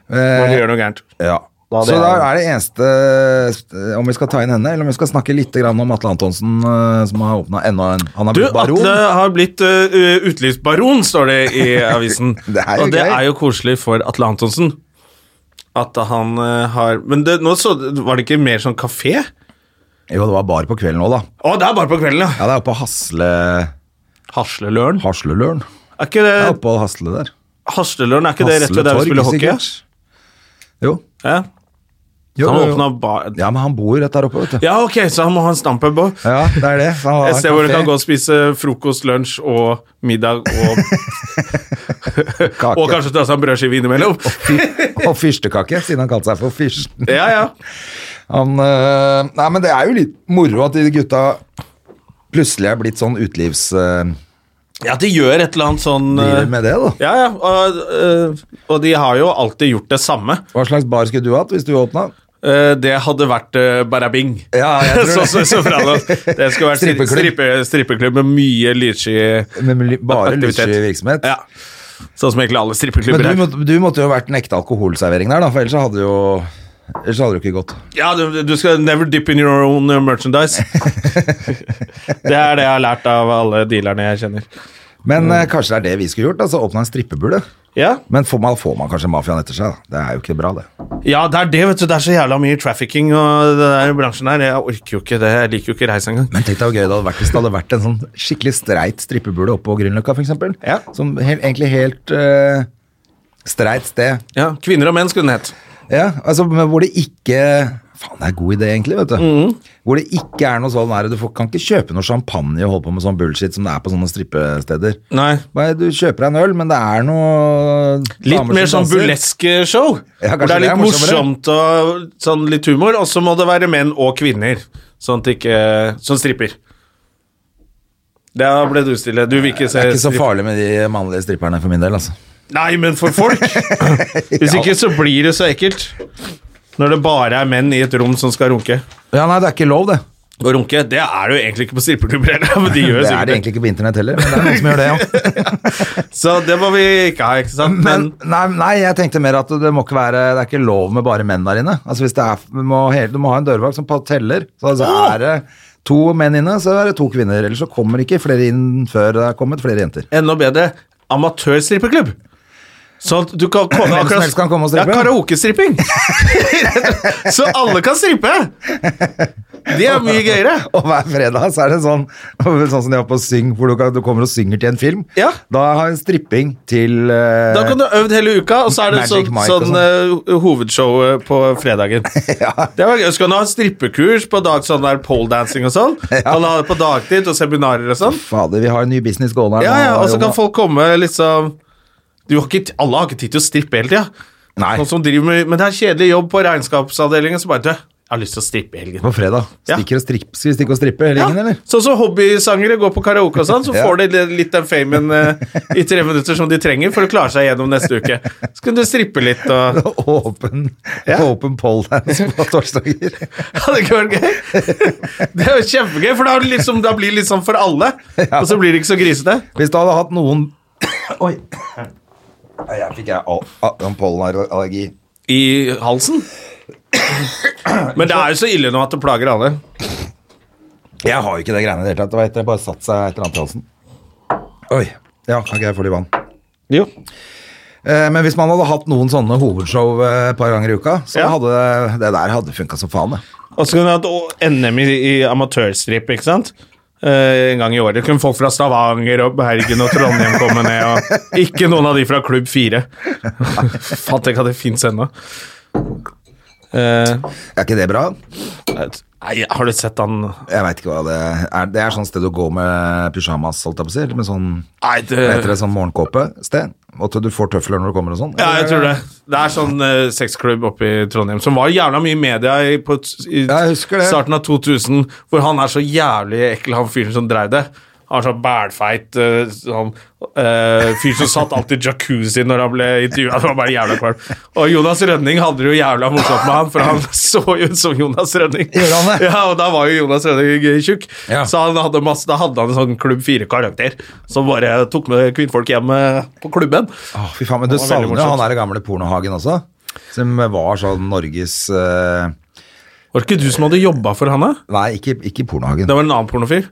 Eh,
Når du gjør noe gærent.
ja,
Da
Så
det
da
er-
er det eneste eh, om vi skal ta inn henne, eller om vi skal snakke litt grann om Atle Antonsen, eh, som har åpna enda en Han har
Du,
blitt baron.
Atle har blitt eh, utelivsbaron, står det i avisen.
Det er jo
og det
gøy.
er jo koselig for Atle Antonsen. At han eh, har Men det, nå så, var det ikke mer sånn kafé? Å,
Jo, det var bar på kvelden òg, da.
det er bare på kvelden, ja.
Ja, det er oppe på Hasle...
Hasleløren.
Hasleløren.
Er ikke
Det
det
er oppe på Hasle der.
Hasleløren, er ikke det rett ved der vi
Hasletorg,
spiller hockey?
sikkert. Jo.
Ja.
jo,
han
jo, jo.
åpna bar
Ja, men han bor rett der oppe, vet du.
Ja, ok, så han må ha en stamppub òg.
Ja, det er det. Så han har
Et
en
sted hvor du
kafé,
kan gå og spise frokost, lunsj og middag og,
kake,
og kanskje ta seg en brødskive innimellom.
og fyrstekake, siden han kalte seg for Fyrsten.
Ja, ja.
Han, øh, nei, men det er jo litt moro at de gutta plutselig er blitt sånn utelivs... Øh,
Ja, de gjør et eller annet sånn
driver med det, da.
Ja, ja, og, øh, og de har jo alltid gjort det samme.
Hva slags bar skulle du hatt hvis du åpna?
Eh, Det hadde vært eh, barabing.
Ja, jeg tror
så,
det.
så, så fra nå. Det skulle vært
Strippeklubb.
strippeklubb, strippe, strippeklubb med mye lydsky
Med mil- bare
aktivitet.
lyssky virksomhet?
Ja. Sånn som egentlig alle
Men
strippeklubber
du,
er.
måtte- du måtte jo ha vært en ekte alkoholservering der, da, for ellers så hadde jo Ellers hadde det jo ikke gått.
Ja, du, du skal never dip in your own eh, merchandise. det er det jeg har lært av alle dealerne jeg kjenner.
Men øh, kanskje det er det vi skulle gjort? altså Åpna en strippebule?
Ja,
Men får man, får man kanskje mafiaen etter seg? da? Det er jo ikke bra, det.
ja det er det, vet du. Det er så jævla mye trafficking og det der bransjen her. Jeg orker jo ikke det. Jeg liker jo ikke reis engang.
Men tenk deg hvor gøy det hadde vært hvis det hadde vært en sånn skikkelig streit strippebule oppe på Grünerløkka, f.eks.
Ja.
Som helt, egentlig helt eh, streit sted.
Ja, Kvinner og menn skulle den hett.
Ja, altså men hvor det ikke Faen, det er en god idé, egentlig, vet du. Hvor det ikke er noe sånn der, du får, kan ikke kjøpe noe champagne og holde på med sånn bullshit som det er på sånne strippesteder.
Nei.
Bare, Du kjøper deg en øl, men det er noe
Litt
damer
mer
som
sånn
danser.
burleske show.
Ja, kanskje
hvor det er
det
litt
er
morsomt og sånn litt humor. Og så må det være menn og kvinner sånn at det ikke, som stripper. Da ble du stille. Du vil ikke
Det
se
er ikke så
stripp-
farlig med de mannlige stripperne for min del, altså.
Nei, men for folk! Hvis ikke så blir det så ekkelt. Når det bare er menn i et rom som skal runke.
Ja, nei, det er ikke lov, det.
Å runke, det er det jo egentlig ikke på strippeklubber heller. Men de
Det
gjør jo
er det
sikkert det.
egentlig ikke på internett heller, men det er noen som gjør det, ja.
Så det må vi ikke ha, ikke sant?
Men,
Men
nei, nei, jeg tenkte mer at det må ikke være Det er ikke lov med bare menn der inne. Altså hvis det er, vi må, hele- Du må ha en dørvakt som teller. Så altså,
Ah!
er det to menn inne, så er det to kvinner. Ellers så kommer ikke flere inn før det er kommet flere jenter.
enda bedre amatørstrippeklubb. Sånn at du kan komme
som
akkurat-
helst kan komme og strippe.
Ja, karaokestripping. så alle kan strippe! Det er mye gøyere.
Og hver fredag så er det sånn Sånn som de har på Syng, hvor du, kan, du kommer og synger til en film.
Ja.
Da har en stripping til eh,
Da kan du ha øvd hele uka, og så er det
Magic
sånn,
Mike og
sånn eh, hovedshow eh, på fredagen. Det var gøy. Så kan du ha strippekurs på dag, sånn der poledancing og sånn. Kan du ha det på dagtid og seminarer og sånn.
Fader, vi har en ny business gående her.
Ja,
nå,
ja, og så
Jonas.
kan folk komme liksom du har ikke, Alle har ikke tid til å strippe hele tida.
Nei,
Noen Sånn som driver med Men det er kjedelig jobb på regnskapsavdelingen, så bare Du, jeg har lyst til å strippe i helgen.
på fredag.
Ja.
Stikker og stripp, skal vi stikke og strippe hele
Ja,
gjengen, eller?
Sånn som hobbysangere går på karaoke og sånn, så
Ja.
får de li- litt den famen eh, i tre minutter som de trenger for å klare seg gjennom neste uke. Så kan du strippe litt og
Åpen,
Ja.
åpen poledance på torsdager.
Hadde ikke vært gøy? Det er jo kjempegøy, for da, er det liksom, da blir det litt sånn for alle. Og så blir det ikke så grisete.
Hvis du hadde hatt noen Oi. Nei, Jeg fikk jeg all- all- en pollenallergi.
I halsen. Men det er jo så ille nå at det plager alle.
Jeg har jo ikke det greiene i det hele tatt. Det var etter jeg bare satt seg et eller annet i halsen. Oi. Ja, ok, jeg får litt vann.
Jo.
Eh, Men hvis man hadde hatt noen sånne hovedshow eh, et par ganger i uka, så
Ja.
hadde det der hadde funka som faen. det.
Og så kunne vi hatt å- NM i, i amatørstrip, ikke sant? Eh, en gang i året. Kunne folk fra Stavanger og Bergen og Trondheim komme ned. Og ikke noen av de fra Klubb 4. Fatt tenk at det fins ennå. Eh,
Er ikke det bra?
nei, har du sett han
Jeg veit ikke hva det er. Det er sånn sted å gå med pysjamas, holdt jeg på å si. eller Med sånn,
Nei,
hva heter
det
det, sånn morgenkåpe-sted. At du får tøfler når du kommer og sånn.
ja, jeg tror det. Det er sånn eh, sexklubb oppe i Trondheim som var jævla mye i media i, på, t- i
Ja, jeg husker det.
starten av 2000, hvor han er så jævlig ekkel, han fyren som dreiv det. Han er så bælfeit eh, sånn, eh, fyr som satt alltid i jacuzzi når han ble intervjua. Det var bare jævla kvalm. Og Jonas Rønning hadde det jo jævla morsomt med han, for han så jo ut som Jonas Rønning.
Gjorde han det?
Ja, og da var jo Jonas Rønning tjukk,
Ja.
så han hadde masse, da hadde han en sånn Klubb 4-karakter som bare tok med kvinnfolk hjem eh, på klubben.
Åh, fy faen, men du
var veldig
savner jo
morsomt.
han der gamle pornohagen også. Som var sånn Norges eh,
Var det ikke du som hadde jobba for han, da?
Nei, ikke, ikke
Det
pornohagen.
var en annen pornofil.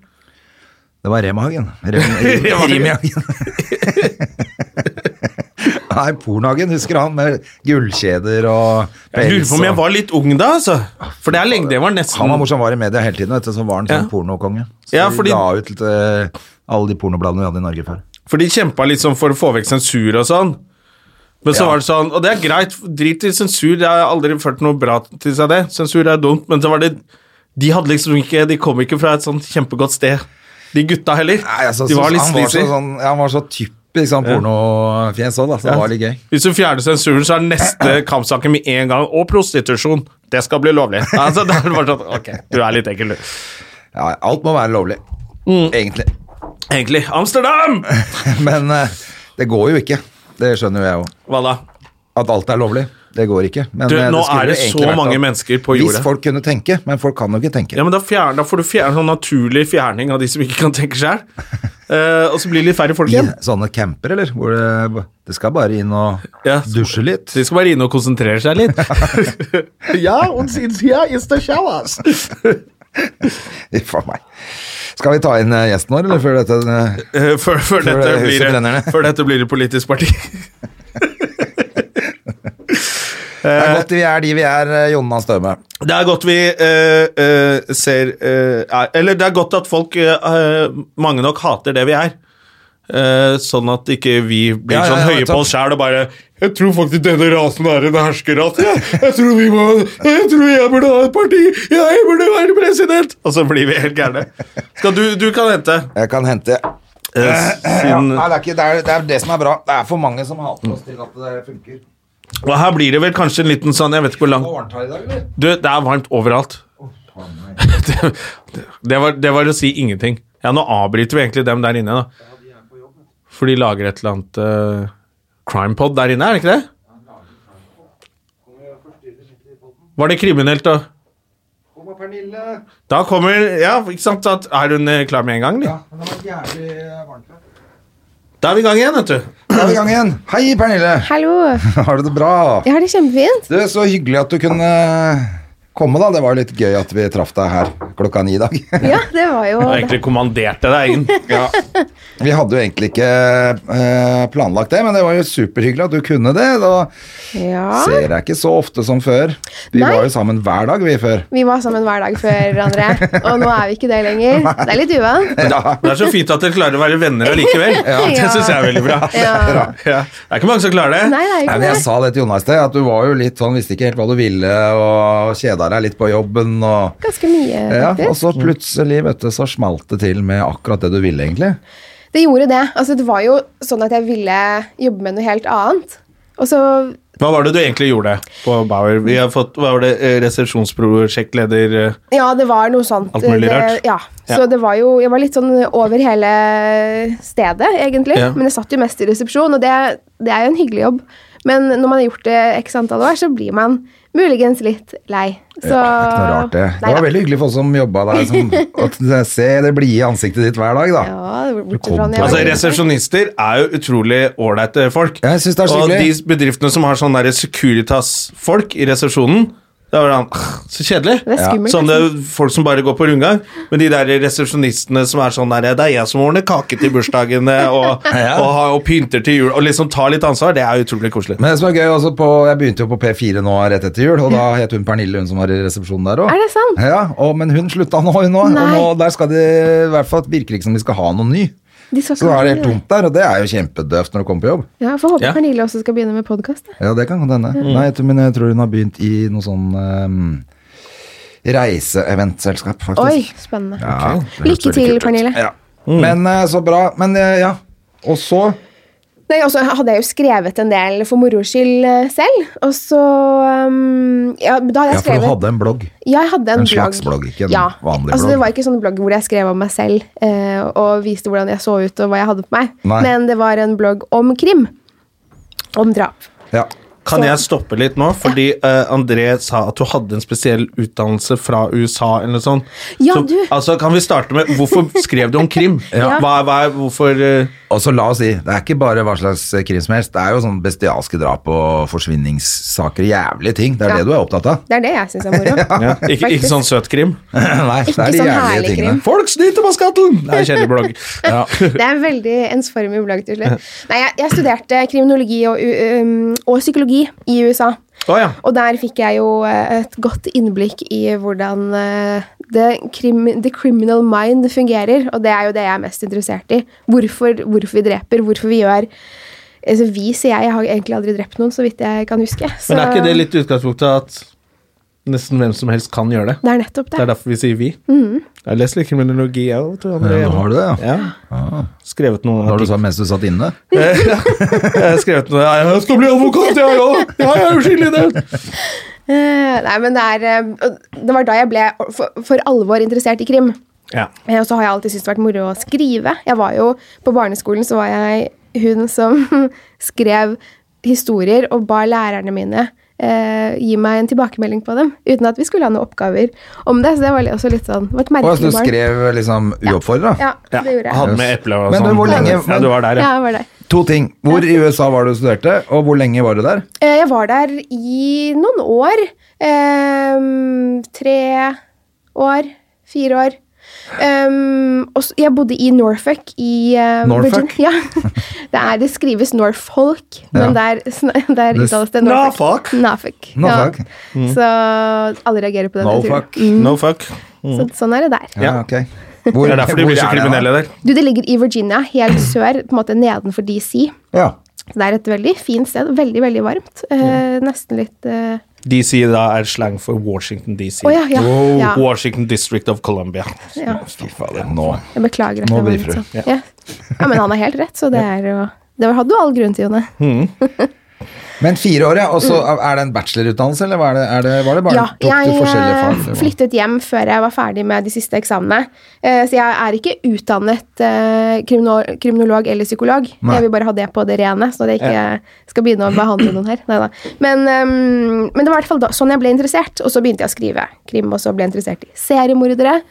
Det var Remahagen. Rem, Rem,
Remahagen.
Remihagen. Nei, pornohagen husker han med gullkjeder og
Jeg lurer på om jeg
og-
var litt ung da, altså. For det er lenge det var nesten
Han var morsom, var i media hele tiden, vet du, så var han sånn
Ja.
pornokonge. Så
Ja, fordi-
vi la ut eh, alle de pornobladene vi hadde i Norge før.
For de kjempa litt sånn for å få vekk sensur og sånn. Men så
Ja.
var det sånn, og det er greit, drit i sensur, det har aldri ført noe bra til seg det. Sensur er dumt, men så var det De hadde liksom ikke De kom ikke fra et sånt kjempegodt sted, de gutta heller.
Nei, altså,
de
så-
var litt
han, var så,
sleazy.
sånn, ja, han var så typisk sånn pornofjes òg, da, så det var litt gøy.
Hvis du fjerner sensuren, så er neste kampsaken med en gang Og prostitusjon. Det skal bli lovlig. Altså, det er det bare sånn, ok, Du er litt ekkel, du.
Ja, alt må være lovlig, egentlig.
Egentlig Amsterdam!
Men eh, det går jo ikke. Det skjønner jo jeg òg.
Hva da?
At alt er lovlig. Det går ikke. Men,
Du,
eh,
nå
skulle
er det
jo egentlig
så
vært
mange
at-
mennesker på jorda.
Hvis folk kunne tenke, men folk kan jo ikke tenke.
Ja, men da, fjern, da får du fjerne sånn naturlig fjerning av de som ikke kan tenke sjøl. og så blir det litt færre folk igjen.
I sånne camper, eller? Hvor det, det skal bare inn og
Ja.
dusje litt.
De skal bare inne og konsentrere seg litt. ja, og siden ja, is the showers.
Uff a meg. Skal vi ta inn eh, gjesten vår, eller før dette eh,
Eh, Før, før, dette
det huset
blir,
brenner ned.
det- før dette blir det politisk parti.
Det er godt vi er de vi er, eh, Jonna Støme.
Det er godt vi eh, eh, ser eh, er, Eller det er godt at folk, eh, eh, mange nok, hater det vi er. Eh, sånn at ikke vi blir
Ja, ja,
sånn
ja,
høye på
nettopp.
oss sjæl og bare 'Jeg tror faktisk denne rasen er en herskerrase. Jeg, jeg tror vi må Jeg tror jeg burde ha et parti! Jeg burde være president!' Og så blir vi helt gærne. Skal du Du kan hente.
Jeg kan hente
Eh,
ja,
siden,
nei, det, er ikke, det, er, det er det som er bra. Det er for mange som hater oss til at det funker.
og her blir det vel kanskje en liten sånn Jeg vet ikke hvor lang
Hva varmt her i dag, eller?
Du, det er varmt overalt. det, det- det, var, det var å si ingenting. Ja, nå avbryter vi egentlig dem der inne, da. For de lager et eller annet eh, crime pod der inne, er det ikke det? Var det kriminelt, da?
Kom da, Pernille.
Da kommer Ja, ikke sant? At er hun eh, klar med en gang, eller?
Ja, men det var jævlig eh, varmt her.
Da er vi i gang igjen, vet du.
Da er vi i gang igjen. Hei, Pernille.
Hallo.
Har du det bra?
Jeg har det kjempefint.
Du, så hyggelig at du kunne komme, da. Det var jo litt gøy at vi traff deg her klokka ni i dag.
Ja, det var jo
Jeg har egentlig kommanderte deg inn.
Vi hadde jo egentlig ikke eh, planlagt det, men det var jo superhyggelig at du kunne det. Da
Ja.
ser jeg deg ikke så ofte som før. Vi
Nei.
var jo sammen hver dag, vi, før.
Vi var sammen hver dag før hverandre, og nå er vi ikke det lenger. Det er litt uvant.
Ja.
Det er så fint at dere klarer å være venner allikevel. Det syns jeg er veldig bra. Ja.
Ja.
Det er ikke mange som klarer det.
Nei,
Nei, det er
altså.
ikke
men jeg
det.
sa det til Jonna i sted, at du var jo litt sånn, visste ikke helt hva du ville, og kjeda deg litt på jobben. Og,
Ganske mye,
ja, og
faktisk.
så plutselig, vet du, så smalt det til med akkurat det du ville, egentlig.
Det gjorde det. Altså, det var jo sånn at jeg ville jobbe med noe helt annet. Og så
Hva var det du egentlig gjorde på Bauer? Vi har fått, hva var det, eh, resepsjonsprosjektleder eh,
Ja, det var noe sånt.
Alt mulig
Det-
rart.
Ja.
Ja.
Så det var jo Jeg var litt sånn over hele stedet, egentlig.
Ja.
Men jeg satt jo mest i resepsjon, og det, det er jo en hyggelig jobb. Men når man har gjort det x antall år, så blir man muligens litt lei. Så
Det er ikke noe rart, det.
Nei
Det
da.
var veldig hyggelig for oss som jobba der, som, å se det blide ansiktet ditt hver dag, da.
Ja, det var bortsett
kom
fra
på
når jeg
Altså,
var liten.
Resepsjonister er jo utrolig ålreite folk.
Ja, jeg synes det er så
og de
hyggelig.
bedriftene som har sånne der Securitas-folk i resepsjonen det er sånn, «Ah, Så kjedelig.
Det er skummelt,
Sånn det er folk som bare går på rundgang. Men de der resepsjonistene som er sånn der Det er jeg som ordner kake til bursdagene og, og, har- og pynter til jul og liksom tar litt ansvar, det er utrolig koselig.
Men det som er gøy, også på, jeg begynte jo på P4 nå rett etter jul, og da het hun Pernille, hun som var i resepsjonen der òg.
Er det sant?
Ja, og, men hun slutta nå, hun òg. Og
Nei.
nå, der skal de, i hvert fall virker det ikke som de skal ha noen ny.
De skal
Så da er det helt
kanskje-
tomt der, og det er jo kjempedøvt når du kommer på jobb.
Ja, Får håpe
Ja.
Pernille også skal begynne med podkast.
Ja, det kan godt hende.
Mm.
Nei, jeg tror- men jeg tror hun har begynt i noe sånn um, reiseeventselskap, faktisk.
Oi, spennende.
Ja, det høres
Lykke
veldig
til,
kult ut.
Pernille.
Ja. Men eh, så bra. Men eh, ja. Og så
Nei, og så hadde jeg jo skrevet en del for moro skyld eh, selv, og så um, ja, da hadde
Ja,
jeg
for
skrevet
du hadde en blogg.
Ja, jeg hadde en,
En slags blogg, ikke en
ja.
vanlig
altså,
blogg.
Det var ikke sånn blogg hvor jeg skrev om meg selv eh, og viste hvordan jeg så ut og hva jeg hadde på meg,
Nei.
men det var en blogg om krim. Om drap.
Ja.
Kan
Så-
jeg stoppe litt nå? Fordi eh, André sa at du hadde en spesiell utdannelse fra USA eller noe sånt.
Ja,
Så,
du.
Altså, kan vi starte med Hvorfor skrev du om krim?
Ja.
Hva, hva, er- hvorfor eh,
Og så la oss si, det er ikke bare hva slags krim som helst, det er jo sånn bestialske drap og forsvinningssaker, jævlige ting. Det er
Ja.
det du er opptatt av.
Det er det jeg syns er moro.
ikke, ikke sånn søt krim?
Nei, det
Ikke
er de
sånn
jævlige
herlig
tingene.
krim.
Folk snyter på skatten! Det er en kjedelig blogg. Ja.
Det er en veldig ensformig blogg til slutt. Nei, jeg, jeg studerte kriminologi og, u- um, og psykologi i USA.
Å ja.
Og der fikk jeg jo eh, et godt innblikk i hvordan eh, the, crim, the criminal mind fungerer, og det er jo det jeg er mest interessert i. Hvorfor, hvorfor vi dreper, hvorfor vi gjør altså, Vi, sier jeg, jeg har egentlig aldri drept noen, så vidt jeg kan huske. Så,
Men er ikke det litt utgangspunktet at nesten hvem som helst kan gjøre det?
Det er nettopp det.
Det er derfor vi sier vi.
Mm.
Jeg har lest litt kriminologi, jeg òg.
Ja, har du det, ja?
Ja. Skrevet noen
Hva var det du sa mens du satt inne?
Jeg har skrevet noe Jeg skal bli advokat, jeg òg! Ja, jeg er uskyldig i det!
Eh, Nei, men det er eh, og Det var da jeg ble for, for alvor interessert i krim.
Ja.
Eh, Og så har jeg alltid syntes det har vært moro å skrive. Jeg var jo, På barneskolen så var jeg hun som skrev historier og ba lærerne mine eh, gi meg en tilbakemelding på dem. Uten at vi skulle ha noen oppgaver om det. Så det var li- også litt sånn det var et
Og altså,
merkelig
du
barn.
skrev liksom uoppfordra?
Ja,
Ja,
det gjorde jeg.
Hadde med eple og
Men
sånn.
du, hvor lenge-
Ja, du var der,
Ja,
ja.
jeg var der.
To ting. Hvor i USA var det du studerte, og hvor lenge var du der?
Eh, Jeg var der i noen år. Ehm, tre år. Fire år. Ehm, og så- jeg bodde i Norfolk i eh,
Norfolk?
Virgin- Ja. Det, er, det skrives Norfolk, men der, sn- der
Det-
uttales det Norfolk. Norfolk.
Norfolk.
Ja. Mm. Så alle reagerer på den. jeg tror.
Norfolk.
Mm.
No fuck.
Så, sånn er det der.
Ja, ok. Hvor-
Det er derfor de
hvor
blir
er det,
så
da?
kriminelle der.
Du, det ligger i Virginia, helt sør, på en måte nedenfor DC.
Ja.
Så det er et veldig fint sted. Veldig, veldig varmt. Eh, Nesten litt eh,
DC da er slang for Washington DC.
Å ja, ja.
Wow.
ja.
Washington District of Columbia.
ja.
Fy fader, nå.
Jeg beklager at
Nå
jeg var
blir
litt
fru.
sånn. Ja. ja, men han har helt rett, så det er jo Det hadde du all grunn til, Jone.
Men fire år, ja. Og så er det en bachelorutdannelse, eller hva er det, er det, var det bare
Mm. Ja,
tok du
jeg
forskjellige fag?
eh,
eller hva?
flyttet hjem før jeg var ferdig med de siste eksamene. Eh, Så jeg er ikke utdannet eh, krimino- kriminolog eller psykolog.
Nei.
Jeg vil bare ha det på det rene, så det ikke skal begynne å behandle noen her. Neida. Men, ehm, men det var i hvert fall da, sånn jeg ble interessert, og så begynte jeg å skrive krim, og så ble jeg interessert i seriemordere.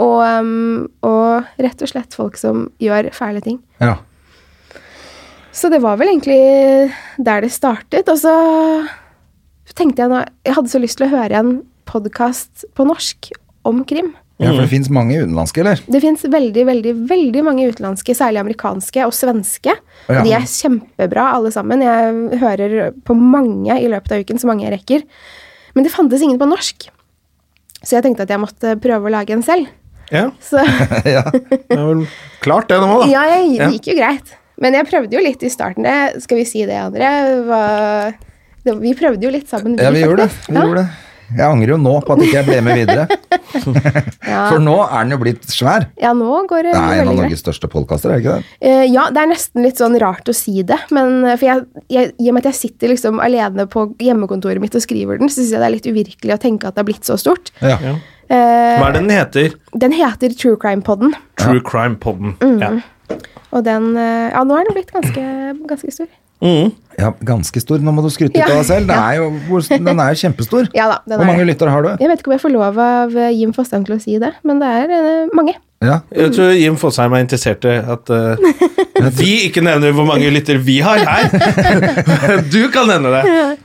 Og, ehm, og rett og slett folk som gjør fæle ting.
Ja.
Så det var vel egentlig der det startet. Og så tenkte jeg nå Jeg hadde så lyst til å høre en podkast på norsk om krim.
ja,
Mm.
for det fins mange utenlandske, eller?
Det fins veldig veldig, veldig mange utenlandske, særlig amerikanske og svenske.
Ja.
De er kjempebra, alle sammen. Jeg hører på mange i løpet av uken, så mange jeg rekker. Men det fantes ingen på norsk, så jeg tenkte at jeg måtte prøve å lage en selv.
Ja,
Så
ja.
det er vel klart det nå, da.
ja, jeg, det gikk jo greit. Men jeg prøvde jo litt i starten. Det, skal vi si det, André? Hva, det, vi prøvde jo litt sammen.
ja, vi gjorde det.
faktisk.
Vi gjorde det. Jeg angrer jo nå på at ikke jeg ble med videre. For nå er den jo blitt svær.
Ja, nå går det
Det er en
veldig
av
greit.
Norges største podkaster, er det ikke det?
Eh, ja, det er nesten litt sånn rart å si det. Men eh, for jeg, jeg, i og med at jeg sitter liksom alene på hjemmekontoret mitt og skriver den, så syns jeg det er litt uvirkelig å tenke at det har blitt så stort.
Ja.
Eh,
Hva er det den heter?
den heter True Crime Podden,
True Crime Podden.
Mm.
Ja.
og den eh, Ja, nå er den blitt ganske, ganske stor.
ja, ganske stor. Nå må du skryte litt
Ja.
av deg selv. Det er jo, hvor- den er jo kjempestor.
Ja da, den
Hvor
er
mange
det.
lyttere har du?
Jeg vet ikke om jeg får lov av eh, Jim Fostheim til å si det, men det er eh, mange.
Ja.
Jeg tror Jim Fosheim er interessert i at eh, vi ikke nevner hvor mange lytter vi har her. Du kan nevne det.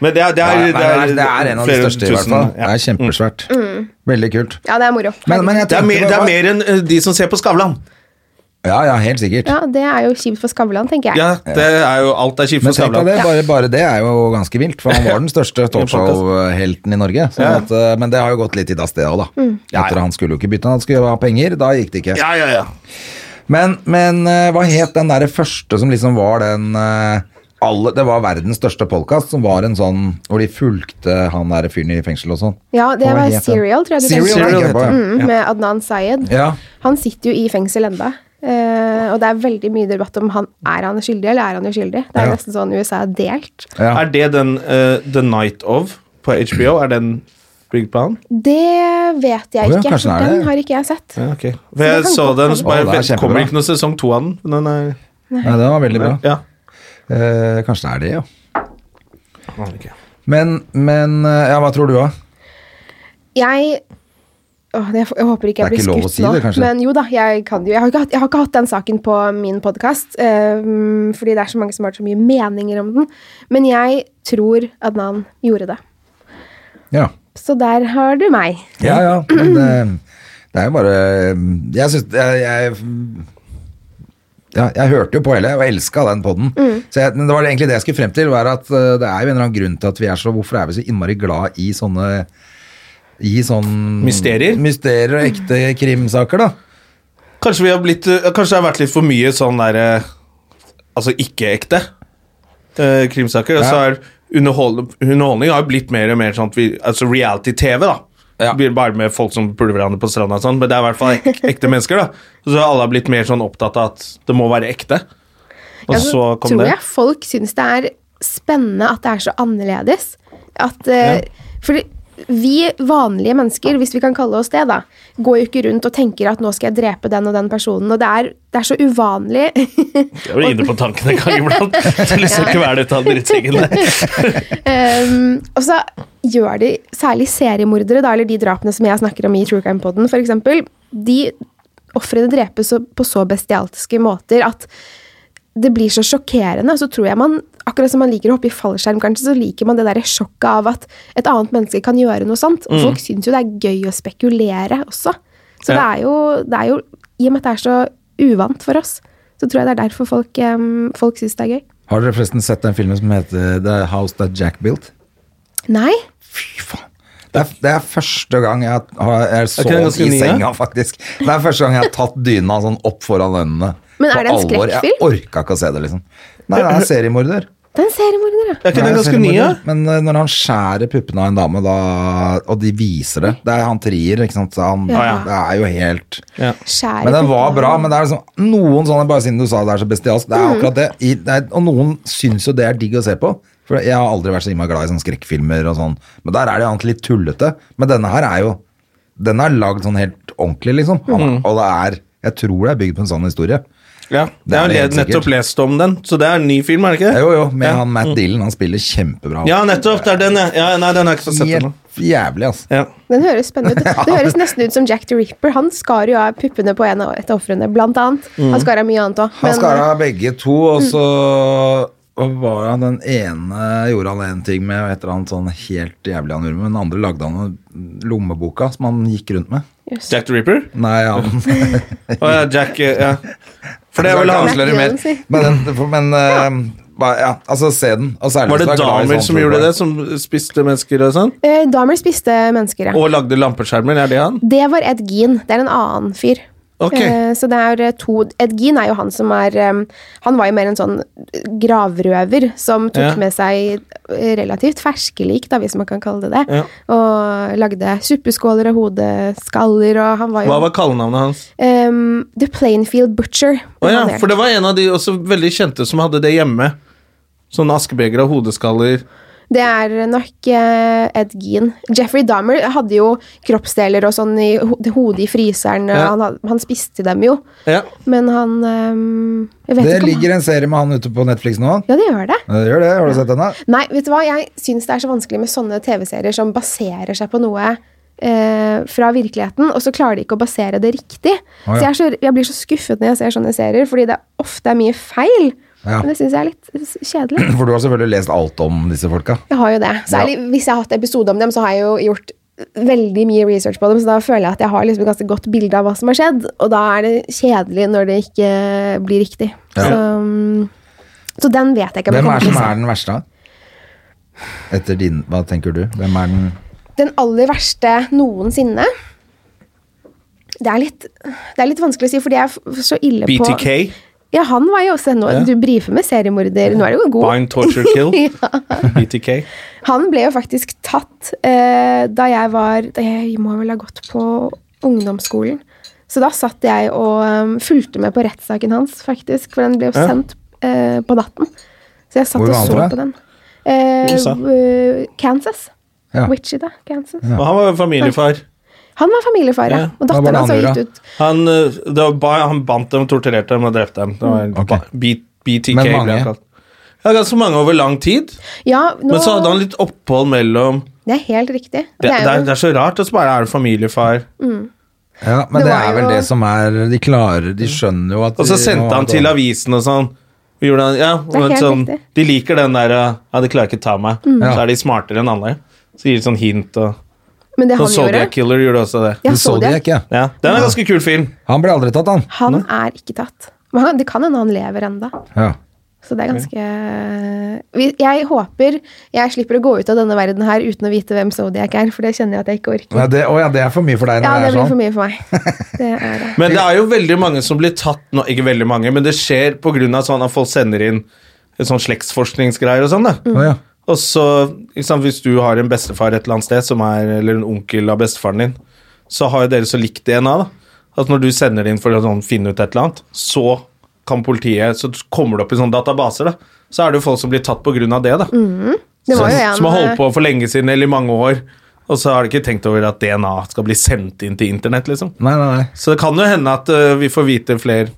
Men det er, det
Nei, nei,
er,
nei, det er en av de
flere
største, i hvert
tusen,
fall.
ja.
Det er kjempesvært.
Mm.
Veldig kult.
Ja, det er moro.
Men, men jeg
Det er
tenkte
mer,
bare-
det er mer enn eh, de som ser på Skavlan.
Ja, ja, helt sikkert.
Ja, det er jo kjipt for Skavlan, tenker jeg.
Ja, det er jo alt er kjipt
Men
for
tenk deg
Skavlan.
det, bare, bare det er jo ganske vilt, for han var den største talkshow-helten i Norge. Sånn at, eh, men det har jo gått litt i dass, det òg, da. Etter han skulle jo ikke bytte, han skulle jo ha penger. Da gikk det ikke.
Ja, ja, ja.
Men, men eh, hva het den derre første som liksom var den eh, alle, Det var verdens største podkast, som var en sånn hvor de fulgte han derre fyren i fengsel og sånn.
Ja, det
Hva
var
het den?
Serial, tror jeg du
Serial,
tenker på.
tenker jeg på, ja.
Mm, med Adnan Syed.
Ja.
Han sitter jo i fengsel enda. Eh, og det er veldig mye debatt om han, er han skyldig eller er han uskyldig. Det er
Ja.
nesten sånn USA er delt.
Ja.
Er det den eh, The Night Of på HBO? Er den bygd på han?
Det vet jeg
Å ja,
ikke.
kanskje det er
den
det.
har ikke jeg sett.
Ja, ok. For jeg
den
så
kan
den,
godt
så bare,
være. Å, det er
det kommer
kjempebra.
ikke noe sesong to av den. men Den er,
Nei, det var veldig bra.
ja.
Eh, kanskje det er det, ja. Men, men eh, Ja, hva tror du, da?
Jeg Åh, det, jeg håper ikke
Det
jeg blir
er ikke lov å
skutt
si
nå.
det, kanskje?
men jo da, jeg kan det jo. Jeg har, ikke hatt, jeg har ikke hatt den saken på min podkast, fordi det er så mange som har så mye meninger om den. Men jeg tror Adnan gjorde det.
Ja.
Så der har du meg.
Ja, ja. Men det, det er jo bare Jeg syns jeg, jeg ja, jeg hørte jo på hele og elska den poden. Men det var egentlig det jeg skulle frem til. Var at eh, Det er jo en eller annen grunn til at vi er så Hvorfor er vi så innmari glad i sånne I sånn
Mysterier?
Mysterier og ekte krimsaker, da.
Kanskje, vi har blitt, eh, kanskje det har vært litt for mye sånn der eh, Altså ikke-ekte eh, krimsaker. Og så
Ja.
er underhold, underholdning har jo blitt mer og mer sånn at vi Altså reality-TV, da.
Ja.
Blir Bare med folk som puler hverandre på stranda og sånn, men det er i hvert fall ek ekte mennesker, da. Så alle har blitt mer sånn opptatt av at det må være ekte. Og
Jeg
så kom
tror
det.
jeg folk syns det er spennende at det er så annerledes. At, eh, Fordi vi vanlige mennesker, hvis vi kan kalle oss det, da, går jo ikke rundt og tenker at nå skal jeg drepe den og den personen. Og det er, det er så uvanlig.
Jeg var inne på tankene en gang iblant. Det har lyst til å ikke være dette drittsengen der.
Ehm, og så gjør de, særlig seriemordere, da, eller de drapene som jeg snakker om i True Crime Poden, for eksempel, de ofrene drepes så- på så bestialske måter at det blir så sjokkerende. Så tror jeg man, akkurat som man liker å hoppe i fallskjerm, kanskje, så liker man det der sjokket av at et annet menneske kan gjøre noe sånt. Og folk syns jo det er gøy å spekulere også.
Ja.
Så det, er jo, det er jo, i og med at det er så uvant for oss, så tror jeg det er derfor folk, um, folk syns det er gøy.
Har dere forresten sett den filmen som heter The House That Jack Built?
Nei?
Fy faen. Det er, det er første gang jeg har jeg
Er ikke den
sovet
ganske
i
ny, ja?
senga, faktisk. Det er første gang jeg har tatt dyna sånn opp foran øynene.
Men er
På
det en
alvor. Jeg
skrekkfilm?
orka ikke å se det, liksom. Nei, det er en seriemorder.
Det er en seriemorder, ja.
Er
Det
ikke
er
den
en
ganske ny, ja?
seriemorder. Men eh, når han skjærer puppene av en dame, da, og de viser det Det er han trier, ikke sant. Så han,
Ja.
Det er jo helt
Skjærer
men den var
puppene.
bra, men det er liksom noen sånne Bare siden du sa det er så bestialsk, det er akkurat det. I, det er, og noen syns jo det er digg å se på. For jeg har aldri vært så innmari glad i sånne skrekkfilmer og sånn. Men der er det jo annet litt tullete. Men denne her er jo Den er lagd sånn helt ordentlig, liksom. Han, Og det er Jeg tror det er bygd på en sånn historie.
Ja,
Det er
jeg har
det helt
le- nettopp
sikkert.
lest om den, så det er en ny film, er det ikke det?
Jo, jo, med
ja.
han Matt Dillon. Han spiller kjempebra.
Ja, nettopp. Det er den, ja. ja nei, den har jeg ikke fått sett ennå.
Helt jævlig, altså.
Ja.
Den høres spennende ut. Det høres nesten ut som Jack the Ripper. Han skar jo av puppene på en av et av ofrene, blant annet. Han skar av mye annet òg.
Han skar av begge to,
mm.
og så og var han den ene gjorde han en ting med, og et eller annet sånn helt jævlig han gjorde, men den andre lagde han en lommeboka som han gikk rundt med.
Jack the Ripper?
Nei, han
Å ja, Jack eh, Ja. For det er vel han
Matt
Slør i mer.
Dillon, si.
Men, den- men eh, bare- ja, altså, se den. Og særlig
Var det
hvis du er glad i
damer
sånn
som gjorde
program.
det? Som spiste mennesker og sånn?
Eh, Dahmer spiste mennesker, ja.
Og lagde lampeskjermer? Er det han?
Det var Ed Gein. Det er en annen fyr.
Ok.
Eh, Så det er eh, to Ed Gein er jo han som er eh, Han var jo mer en sånn gravrøver som tok
Ja.
med seg eh, relativt ferske lik, da, hvis man kan kalle det det,
Ja.
og lagde suppeskåler og hodeskaller, og han var jo
Hva var kallenavnet hans?
Ehm, The Plainfield Butcher.
Å ja,
Han het.
for det var en av de også veldig kjente som hadde det hjemme. Sånne askebeger og hodeskaller.
Det er nok eh, Ed Gein. Jeffrey Dahmer hadde jo kroppsdeler og sånn i ho hodet i fryseren. og
Ja.
Han, had- han spiste dem jo,
Ja.
men han ehm, Jeg vet
Det
ikke om
ligger en serie med han ute på Netflix nå.
han Ja, det gjør det.
Det gjør det, har du sett den da?
Nei, vet du hva? jeg syns det er så vanskelig med sånne TV-serier som baserer seg på noe eh, fra virkeligheten, og så klarer de ikke å basere det riktig.
Å, ja.
Så jeg, er så jeg blir så skuffet når jeg ser sånne serier, fordi det ofte er mye feil.
Ja.
Men det syns jeg er litt s- kjedelig.
For du har selvfølgelig lest alt om disse folka.
Jeg har jo det. Særlig hvis jeg har hatt episode om dem, så har jeg jo gjort veldig mye research på dem, så da føler jeg at jeg har liksom et ganske godt bilde av hva som har skjedd, og da er det kjedelig når det ikke blir riktig. Så, um, så den vet jeg ikke om jeg
Hvem
kommer
er
til
som
å
er
se.
den verste? da? Etter din, hva tenker du? Hvem er den
Den aller verste noensinne det er, litt, det er litt vanskelig å si, fordi jeg er f- så ille på
BTK.
Ja, han var jo også nå,
Ja.
Du brifer med seriemorder. Nå er du jo god.
Bind, torture, kill.
ja.
BTK.
Han ble jo faktisk tatt eh, da jeg var da Jeg må vel ha gått på ungdomsskolen. Så da satt jeg og um, fulgte med på rettssaken hans, faktisk. For den ble jo
Ja.
sendt eh, på natten. Så jeg satt
Hvor
og
var han
så
fra?
på den. Eh,
USA?
eh, Kansas.
Ja.
Wichita, Kansas.
Og han var jo familiefar.
Han var familiefar, ja.
Ja.
Og
Hva var det
datteren
han
hans har
gjorde,
gitt ut
Han, eh, det var, ba- han bandt dem, torturerte dem og drepte dem. Det var
Ok.
ba- B- BTK
Men
ble
mange?
han kalt. Ja, ganske mange over lang tid.
Ja, nå,
Men så hadde han litt opphold mellom
Det er helt riktig. Og
Det,
det er
det,
jo-
er, det er så rart, og så bare er du familiefar.
Ja, men
Det
det,
var
er vel
jo-
det som er De klarer De skjønner jo at
Og
de-
så
nå
sendte han
er det
til
over.
avisen og sånn. Og Gjorde han, ja,
er
og
helt
sånn,
riktig.
de liker den der eh, Ja, de klarer ikke ta meg.
Ja.
Så er de smartere enn alle. Så gir de sånn hint og
Men det
Sånn
han gjorde
Zodiac Killer gjorde også det.
Ja,
Du så det ikke?
Ja, Den er en ganske kul film.
Han ble aldri tatt, han.
Han er ikke tatt. Men han, det kan hende han lever enda.
Ja.
Så det er ganske Vi- Jeg håper jeg slipper å gå ut av denne verden her uten å vite hvem Zodiac er, for det kjenner jeg at jeg ikke orker.
Nei, det, å ja, det er for mye for deg
Ja,
når
det
det er
blir for
sånn?
mye for meg. Det er det.
Men det er jo veldig mange som blir tatt nå. Ikke veldig mange, men det skjer pga. sånn at folk sender inn sånn slektsforskningsgreier og sånn. da.
Å, ja.
Og så, ikke sant, Hvis du har en bestefar et eller annet sted, som er, eller en onkel av bestefaren din, så har jo dere så likt DNA. da. At Når du sender det inn for å sånn, finne ut et eller annet, så kan politiet, så kommer det opp i sånne databaser. da. Så er det jo folk som blir tatt pga. det. da.
Mm. Det
som,
var jo en
som har
eh,
holdt på for lenge siden eller i mange år. Og så har de ikke tenkt over at DNA skal bli sendt inn til internett. liksom.
Nei, nei, nei.
Så det kan jo hende at eh, vi får vite flere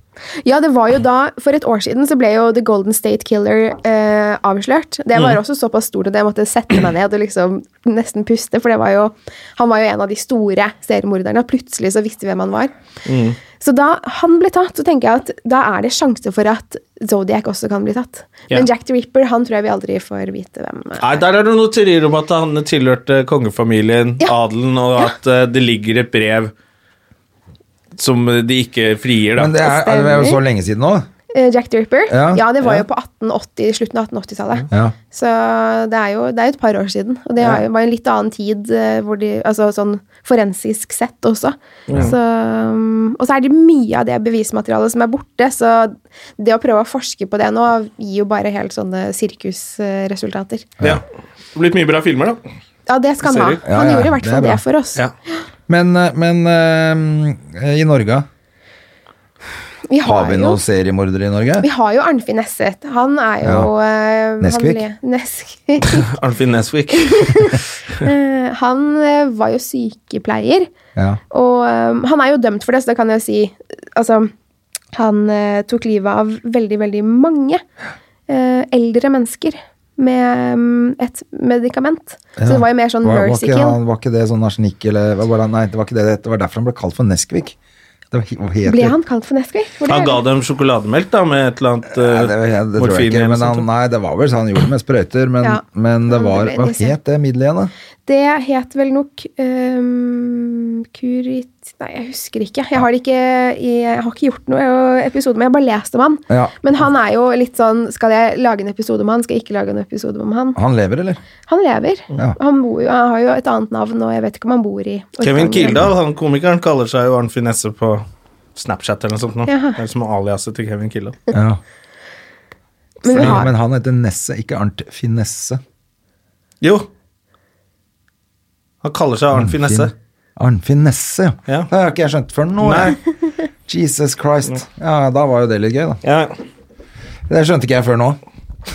Ja, det var jo da, For et år siden så ble jo The Golden State Killer eh, avslørt. Det
Mm.
var også såpass stort at jeg måtte sette meg ned og liksom nesten puste. For det var jo, han var jo en av de store seriemorderne, og plutselig så visste vi hvem han var.
Mm.
Så da han ble tatt, så tenker jeg at da er det sjanse for at Zodiac også kan bli tatt.
Ja.
Men Jack the Ripper han tror jeg vi aldri får vite hvem eh,
Nei, Der er det noen teorier om at han tilhørte kongefamilien,
Ja.
adelen, og at eh, det ligger et brev som eh, de ikke frigir. da.
Men det er, det er jo så lenge siden nå.
eh, Jack the Ripper.
Ja.
det var
Ja.
jo på 1880, slutten av 1880-tallet.
Ja.
Så det er jo det er jo et par år siden. Og det var jo var en litt annen tid, eh, hvor de, altså sånn forensisk sett også. Så, um, og så er det mye av det bevismaterialet som er borte, så det å prøve å forske på det nå gir jo bare helt sånne sirkusresultater.
Ja. Det har blitt mye bra filmer, da.
Ja, det skal han ha.
Serier.
Ja,
Han
ja,
gjorde i hvert
det er
fall
bra.
det for oss.
Ja.
Men, eh, men eh, i Norge
Vi
Har
har
vi
jo
noen seriemordere i Norge?
vi har jo Arnfinn Nesset. Han er jo eh, han
Neskvik?
le- Neskvik.
Arnfinn Nesvik.
Eh, han eh, var jo sykepleier.
Ja.
Og øhm, han er jo dømt for det, så da kan jeg jo si Altså, han eh, tok livet av veldig, veldig mange eh, eldre mennesker med mm, et medikament. Så det var jo mer sånn
Var, var,
mercy
ikke,
kill.
han, var ikke det sånn arsenikk eller hva var det? Nei, det var ikke det. Det var derfor han ble kalt for Neskvik. Det var, he- het-
Ble han kalt for Nesquik? Hvor det
Han
er-
ga dem sjokolademelk da, med et eller annet
Nei,
eh,
det, var- det tror jeg
morfin.
ikke,
eller
men
noe
han,
sånt.
nei, det var vel så han gjorde det med sprøyter, men,
Ja.
men det
Ja,
var
det ble-
Hva
det-
het det middelet igjen, da?
Det het vel nok øhm, Kurit... Nei, jeg husker ikke. Jeg har, det ikke i- jeg har ikke gjort noe episode, men jeg har bare lest om han.
Ja.
Men han er jo litt sånn Skal jeg lage en episode om han? Skal jeg ikke lage en episode om han?
Han lever, eller?
Han lever.
Ja.
Han, bor jo, han har jo et annet navn, og jeg vet ikke om han bor i
Kevin
Orkanger.
Kildahl, han komikeren, kaller seg jo Arnfinn Nesse på Snapchat eller noe sånt. Nå.
Jaha.
Det er som aliaset til Kevin Kildahl.
Ja.
Men vi
Men,
har,
men han heter Nesse, ikke Arnt Finesse.
Jo. Han kaller seg Arnfinn Nesse.
Arnfinn Nesse, ja.
Ja.
Det har ikke jeg skjønt før nå. jeg. Jesus Christ. Ja, da var jo det litt gøy, da.
Ja,
Det skjønte ikke jeg før nå.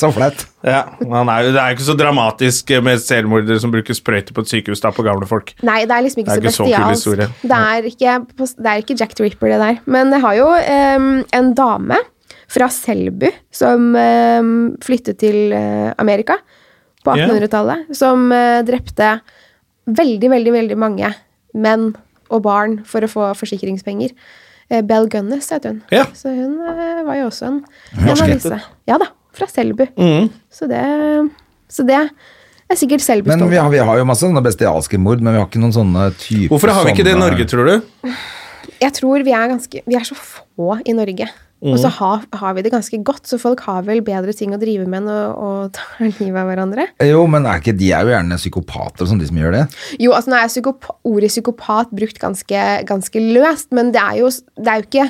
så flaut.
ja. Han er jo, det er jo ikke så dramatisk med selvmordere som bruker sprøyter på et sykehus da, på gamle folk.
nei, det er liksom
Det
ikke,
er ikke så
så
kul
bestialsk.
historie.
det, er ikke, det er ikke Jack the Ripper, det der. Men jeg har jo em, en dame fra Selbu som em, flyttet til eh, Amerika på
Ja.
1800-tallet, som eh, drepte veldig, veldig, veldig mange menn og barn for å få forsikringspenger. Eh, Bell Gunness het hun.
Ja.
Så hun eh, var jo også en, en
Norsk
av disse. Ja da, fra Selbu.
Mm.
Så, det, så det er sikkert Selbu
Men
stolt
vi
av.
har, vi har jo masse sånne bestialske mord, men vi har ikke noen sånne typer
Hvorfor har vi ikke det i
sånne-
Norge, tror du?
Jeg tror vi er ganske Vi er så få i Norge. Og så har, har vi det ganske godt, så folk har vel bedre ting å drive med enn å, å ta livet av hverandre.
Jo, men er ikke, de er jo gjerne psykopater og sånn, de som gjør det.
Jo, altså nå er psykop ordet psykopat brukt ganske, ganske løst, men det er jo, det er jo ikke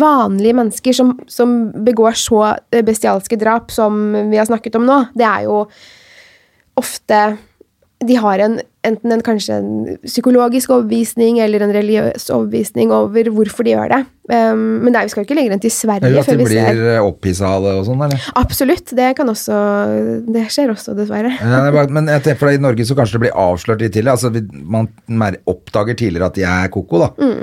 vanlige mennesker som, som begår så eh, bestialske drap som vi har snakket om nå. Det er jo ofte De har en, enten en, kanskje en psykologisk overbevisning eller en religiøs overbevisning over hvorfor de gjør det. Um, men det er, vi skal jo ikke lenger enn til Sverige
Eller at de
før vi
blir
ser
opphissa av det og sånn, eller?
Absolutt. Det kan også Det skjer også, dessverre.
Ja, det er bare- men jeg tenker for deg, i
Mm.
Norge så kanskje det blir avslørt litt tidlig. Altså, vi- man mer oppdager tidligere at de er koko, da.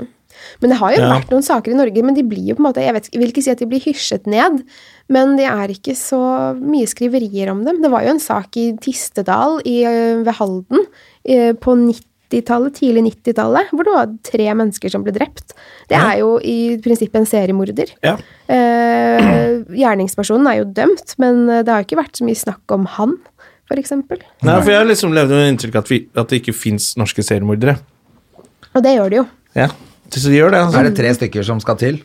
Men det har jo
Ja.
vært noen saker i Norge, men de blir jo på en måte Jeg vet, ikke- jeg vil ikke si at de blir hysjet ned, men det er ikke så mye skriverier om dem. Det var jo en sak i Tistedal i, øh, ved Halden øh, på 90-tallet, tidlig 90-tallet, hvor det var tre mennesker som ble drept. Det er jo i prinsippet en seriemorder.
Ja.
Eh, gjerningspersonen er jo dømt, men eh, det har ikke vært så mye snakk om han, for eksempel.
Nei, for jeg har liksom levd med inntrykk at, vi, at det ikke fins norske seriemordere.
Og det gjør det jo.
Ja. Så de gjør det, altså.
Er det tre stykker som skal til?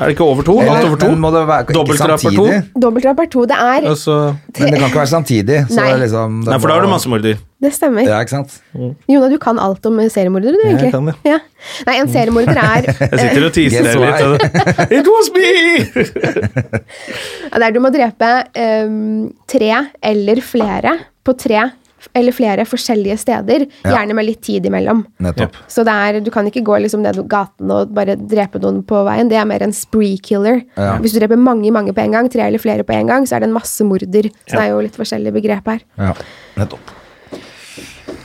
Er det ikke over to? Alt over to?
men må det være, ikke
Dobbeltdrap er to?
samtidig?
Dobbeltdrap er to. Det er
Altså,
Men det kan ikke være samtidig. Så
Nei.
det er liksom,
nei, for da er det massemorder.
Det stemmer.
Ja, ikke sant?
Jona, du kan alt om eh, seriemordere, du,
jeg
egentlig.
kan det.
Ja. Nei, en seriemorder er
Jeg sitter og teaser
Guess
dere litt. It was me!
Ja, Der du må drepe ehm, tre eller flere på tre f- eller flere forskjellige steder, gjerne med litt tid imellom.
Nettopp.
Så det er, du kan ikke gå liksom ned gaten og bare drepe noen på veien. Det er mer en spree killer. Hvis du dreper mange mange på en gang, tre eller flere på en gang, så er det en massemorder. Så det er jo litt forskjellige begrep her.
Ja, nettopp.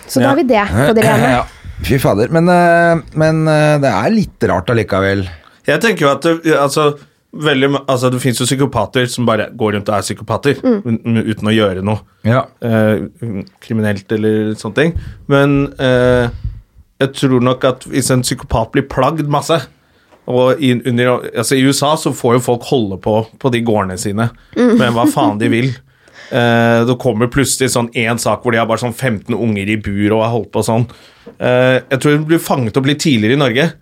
Så da har vi det på det rene.
Ja. Fy fader. Men, eh, men eh, det er litt rart allikevel.
Jeg tenker jo at det, altså, veldig, ma- altså, det finnes jo psykopater som bare går rundt og er psykopater
Mm.
men- men uten å gjøre noe
Ja.
eh, kriminelt eller sånne ting. Men eh, jeg tror nok at hvis en psykopat blir plagd masse og i, under, altså I USA så får jo folk holde på på de gårdene sine
Mm.
med hva faen de vil. Eh, det kommer plutselig sånn én sak hvor de har bare sånn 15 unger i bur og har holdt på sånn. Eh, jeg tror hun blir fanget opp litt tidligere i Norge,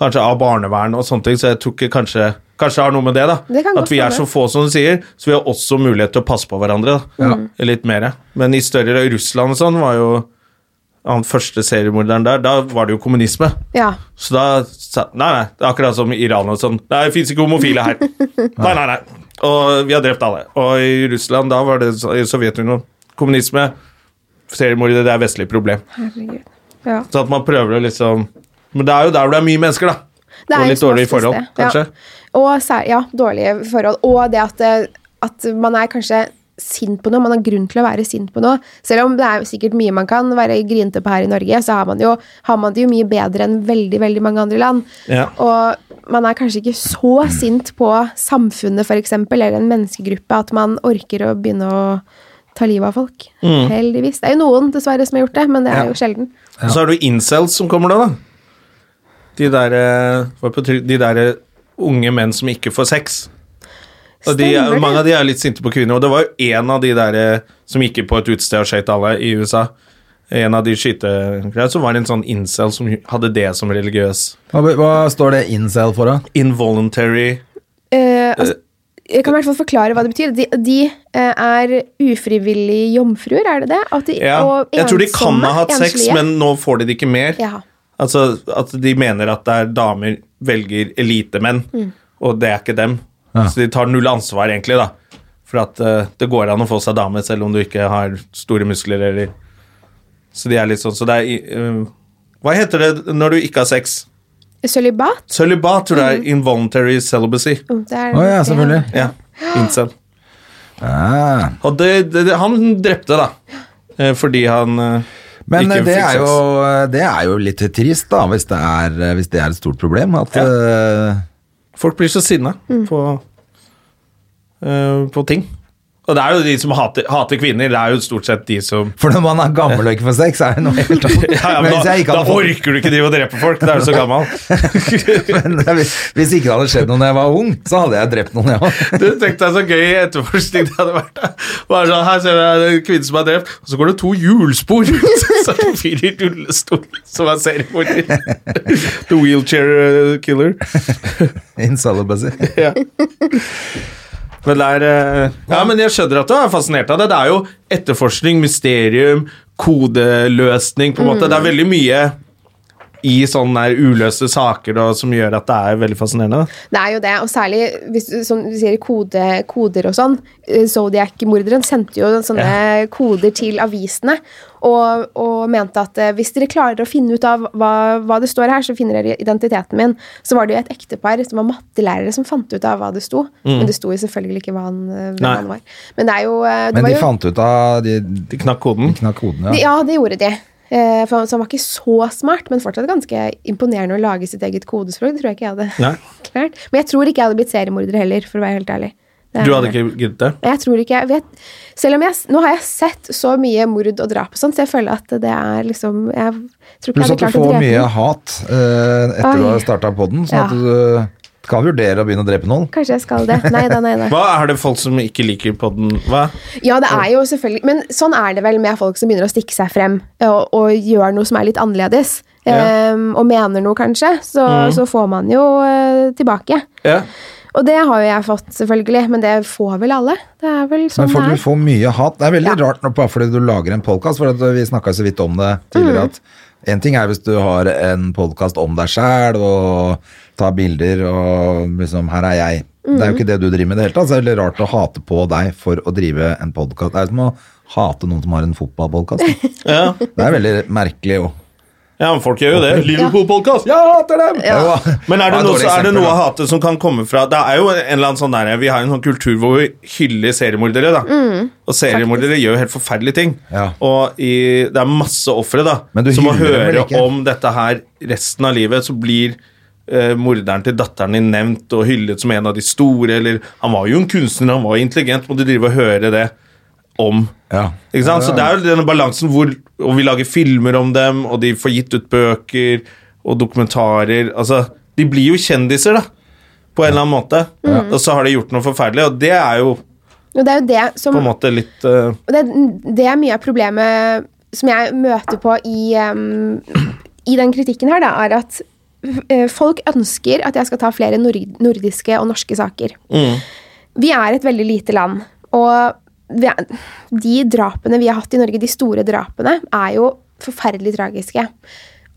kanskje av barnevern og sånne ting, så jeg tror ikke kanskje Kanskje det har noe med det, da.
Det kan
At
godt
vi er
være.
så få som du sier, så vi har også mulighet til å passe på hverandre. Da. Mm. Litt mer. Men i større Russland og sånn var jo han første seriemorderen der, da var det jo kommunisme.
Ja.
Så da sa Nei, nei, det er akkurat som i Iran og sånn. Nei, det fins ikke homofile her. Nei, nei, nei. Og vi har drept alle. Og i Russland, da var det så- i Sovjetunionen kommunisme. Seriemordere, det er vestlig problem.
Herregud. Ja.
Så at man prøver å liksom Men det er jo der hvor det er mye mennesker, da.
Det er
og
jo
litt
som
dårlige
oftest
forhold,
det.
kanskje.
Ja. Og sær, ja, dårlige forhold. Og det at, det- at man er kanskje sint på noe, man har grunn til å være sint på noe. Selv om det er jo sikkert mye man kan være grinete på her i Norge, så har man, jo, har man det jo mye bedre enn veldig, veldig mange andre land.
Ja.
Og man er kanskje ikke så sint på samfunnet, for eksempel, eller en menneskegruppe, at man orker å begynne å ta livet av folk. Heldigvis. Det er jo noen, dessverre, som har gjort det, men det er jo sjelden.
Og så er det jo incels som kommer da, da. De der, eh, var på try- de der eh, unge menn som ikke får sex. Og de,
Stemmer det.
mange av de er litt sinte på kvinner, og det var jo en av de der eh, som gikk på et utested og skøyt alle i USA. En av de skytegreiene, så var det en sånn incel som hadde det som religiøs.
Hva, hva står det incel for, da?
Involuntary
Eh, altså, jeg kan i hvert fall forklare hva det betyr. De, de eh, er ufrivillig jomfruer, er det det? At de,
ja.
og
Jeg tror de kan
ensomme,
ha hatt sex,
enslige.
men nå får de det ikke mer.
Jaha.
Altså at de mener at det er damer velger elitemenn, og det er ikke dem. Så de tar null ansvar, egentlig, da. For at eh, det går an å få seg dame selv om du ikke har store muskler eller Så de er litt sånn Så det er i- eh, Hva heter det når du ikke har sex?
Sølibat?
Sølibat tror jeg er involuntary celibacy.
Oh, det er-
Å ja, selvfølgelig.
Ja. Incel.
Ja.
Og det, det, det, han drepte, da. Eh, Fordi han eh,
Men
ikke
eh, det
fikk
er,
sex.
jo, det er jo litt trist, da, hvis det er, eh, hvis det er et stort problem. At
Ja.
eh,
Folk blir så sinna
Mm.
på, eh, på ting. Og det er jo de som hater, hater kvinner, det er jo stort sett de som
For når man er gammel og ikke får sex, er det noe helt annet.
ja, ja,
Men
men
hvis
Da,
jeg ikke
da
hadde fått-
orker du ikke drive og drepe folk, da er du så gammel.
Men det er- hvis, hvis ikke det hadde skjedd noe da jeg var ung, så hadde jeg drept noen, jeg òg.
Du tenkte deg så gøy etterforskning det hadde vært. da. Bare sånn, Her ser du en kvinne som er drept, og så går det to hjulspor! Så er det en fyr i rullestol som er seriemorder. The wheelchair eh, killer.
Incelibacy.
Ja. Men det er eh, Ja, men jeg skjønner at du er fascinert av det. Det er jo etterforskning, mysterium, kodeløsning, på en måte. Det er veldig mye i sånne der uløste saker da, som gjør at det er veldig fascinerende. da.
Det er jo det, og særlig hvis, du- som du sier, kode, koder og sånn. Eh, Zodiac-morderen sendte jo sånne koder til avisene og, og mente at eh, hvis dere klarer å finne ut av hva, hva det står her, så finner dere identiteten min. Så var det jo et ektepar som var mattelærere som fant ut av hva det sto.
Mm.
Men det sto jo selvfølgelig ikke hva han, eh, hvem
Nei.
han var. Men det er jo eh, det
Men
var
de
jo,
fant ut av De, de
De knakk koden.
knakk hodene.
de-
Ja.
Ja, det gjorde de. Eh, for han, så han var ikke så smart, men fortsatt ganske imponerende å lage sitt eget kodespråk. Det tror jeg ikke jeg hadde
Nei.
klart. Men jeg tror ikke jeg hadde blitt seriemorder heller, for å være helt ærlig. Det er-
Du hadde ikke giddet det?
Jeg tror ikke jeg vet, Selv om jeg s- Nå har jeg sett så mye mord og drap og sånn, så jeg føler at det er liksom Jeg tror ikke jeg
Pluss
hadde
at du
klart å
får
drepe
mye
noen.
hat eh, etter du
Oi.
har starta podden, sånn at
Ja.
du kan vurdere å begynne å drepe noen.
Kanskje jeg skal det. Nei da, nei da.
Hva er det folk som ikke liker podden? Hva?
Ja, det er jo selvfølgelig Men sånn er det vel med folk som begynner å stikke seg frem eh, og, og gjør noe som er litt annerledes.
Ja. Mm.
ehm, og mener noe, kanskje. Så, så får man jo eh, tilbake.
Ja.
Og det har jo jeg fått, selvfølgelig. Men det får vel alle. Det er vel sånn
Men folk
det
vil
er.
få mye hat. Det er veldig rart nå, bare fordi du lager en podkast, for at vi snakka så vidt om det
Mm.
tidligere, at en ting er hvis du har en podkast om deg sjæl og tar bilder og liksom 'her er jeg'. Det
Mm.
er jo ikke det du driver med i det hele tatt. Så det er veldig rart å hate på deg for å drive en podkast. Det er som å hate noen som har en fotballpodkast.
Ja.
Det er veldig merkelig òg.
ja, men folk gjør jo det. Liverpool-podkast! Ja, jeg hater dem! Men er det, noe, er det noe av hatet som kan komme fra Det er jo en eller annen sånn der, Vi har en sånn kultur hvor vi hyller seriemordere. da Og seriemordere gjør jo helt forferdelige ting.
Ja.
Og i, det er masse ofre da
Men du
som må
hyller dem vel
høre
ikke?
om dette her resten av livet. Så blir eh, morderen til datteren din nevnt og hyllet som en av de store. Eller han var jo en kunstner, han var jo intelligent. Må du drive og høre det om
Ja.
Ikke sant? Så det er jo denne balansen hvor og vi lager filmer om dem, og de får gitt ut bøker og dokumentarer. Altså, de blir jo kjendiser, da. På en eller annen måte. Mm. Og så har de gjort noe forferdelig, og det er jo
Og det er jo det som
på en måte litt eh,
Og det, det er mye av problemet som jeg møter på i, em, i den kritikken her, da, er at eh, folk ønsker at jeg skal ta flere nor nordiske og norske saker.
Mm.
Mm.
Vi er et veldig lite land, og vi er, de drapene vi har hatt i Norge, de store drapene, er jo forferdelig tragiske.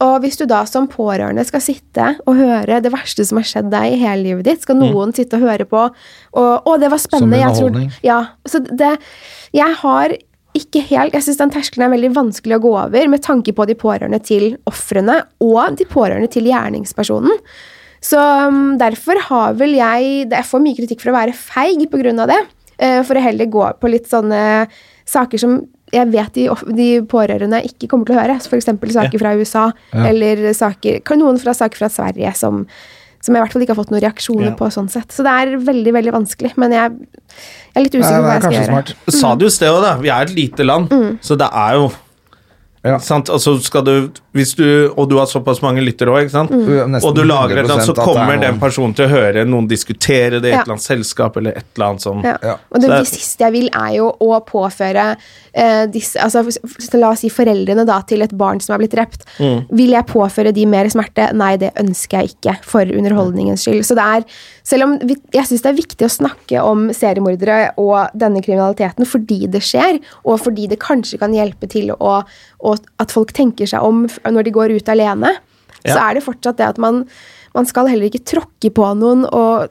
Og hvis du da som pårørende skal sitte og høre det verste som har skjedd deg i hele livet ditt, skal noen sitte og høre på og 'Å, det var spennende.' jeg tror-
underholdning.
ja, så det Jeg har ikke helt Jeg syns den terskelen er veldig vanskelig å gå over med tanke på de pårørende til ofrene og de pårørende til gjerningspersonen. Så um, derfor har vel jeg det- Jeg får mye kritikk for å være feig pga. det. eh, For å heller gå på litt sånne saker som jeg vet de, of- de pårørende ikke kommer til å høre. F.eks. saker fra USA eller saker, kan noen fra saker fra Sverige som, som jeg i hvert fall ikke har fått noen reaksjoner på. sånn sett. Så det er veldig veldig vanskelig. Men jeg, jeg er litt
Nei,
usikker på
det
hva
er
jeg skal
kanskje
gjøre.
smart.
Sa du i sted òg, da. Vi er et lite land, så det er jo
Mm. Ja.
sant? Altså skal du, hvis du, og du har såpass mange lyttere òg, ikke sant?
Mm. Ja, nesten
Og du lager et eller annet,
100% at det
så
er
kommer
noen-
den personen til å høre noen diskutere det i et
Ja.
eller annet selskap eller et eller annet sånn.
Ja.
Ja.
Og
Så
det,
det-
det siste jeg vil, er jo å påføre eh, disse, altså, f- f- La oss si foreldrene da, til et barn som er blitt drept. Vil jeg påføre de mer smerte? Nei, det ønsker jeg ikke. For underholdningens skyld. Så det er, selv om vi, jeg syns det er viktig å snakke om seriemordere og denne kriminaliteten fordi det skjer, og fordi det kanskje kan hjelpe til å, å, at folk tenker seg om f- når de går ut alene, så
Ja.
er det fortsatt det at man, man skal heller ikke tråkke på noen. og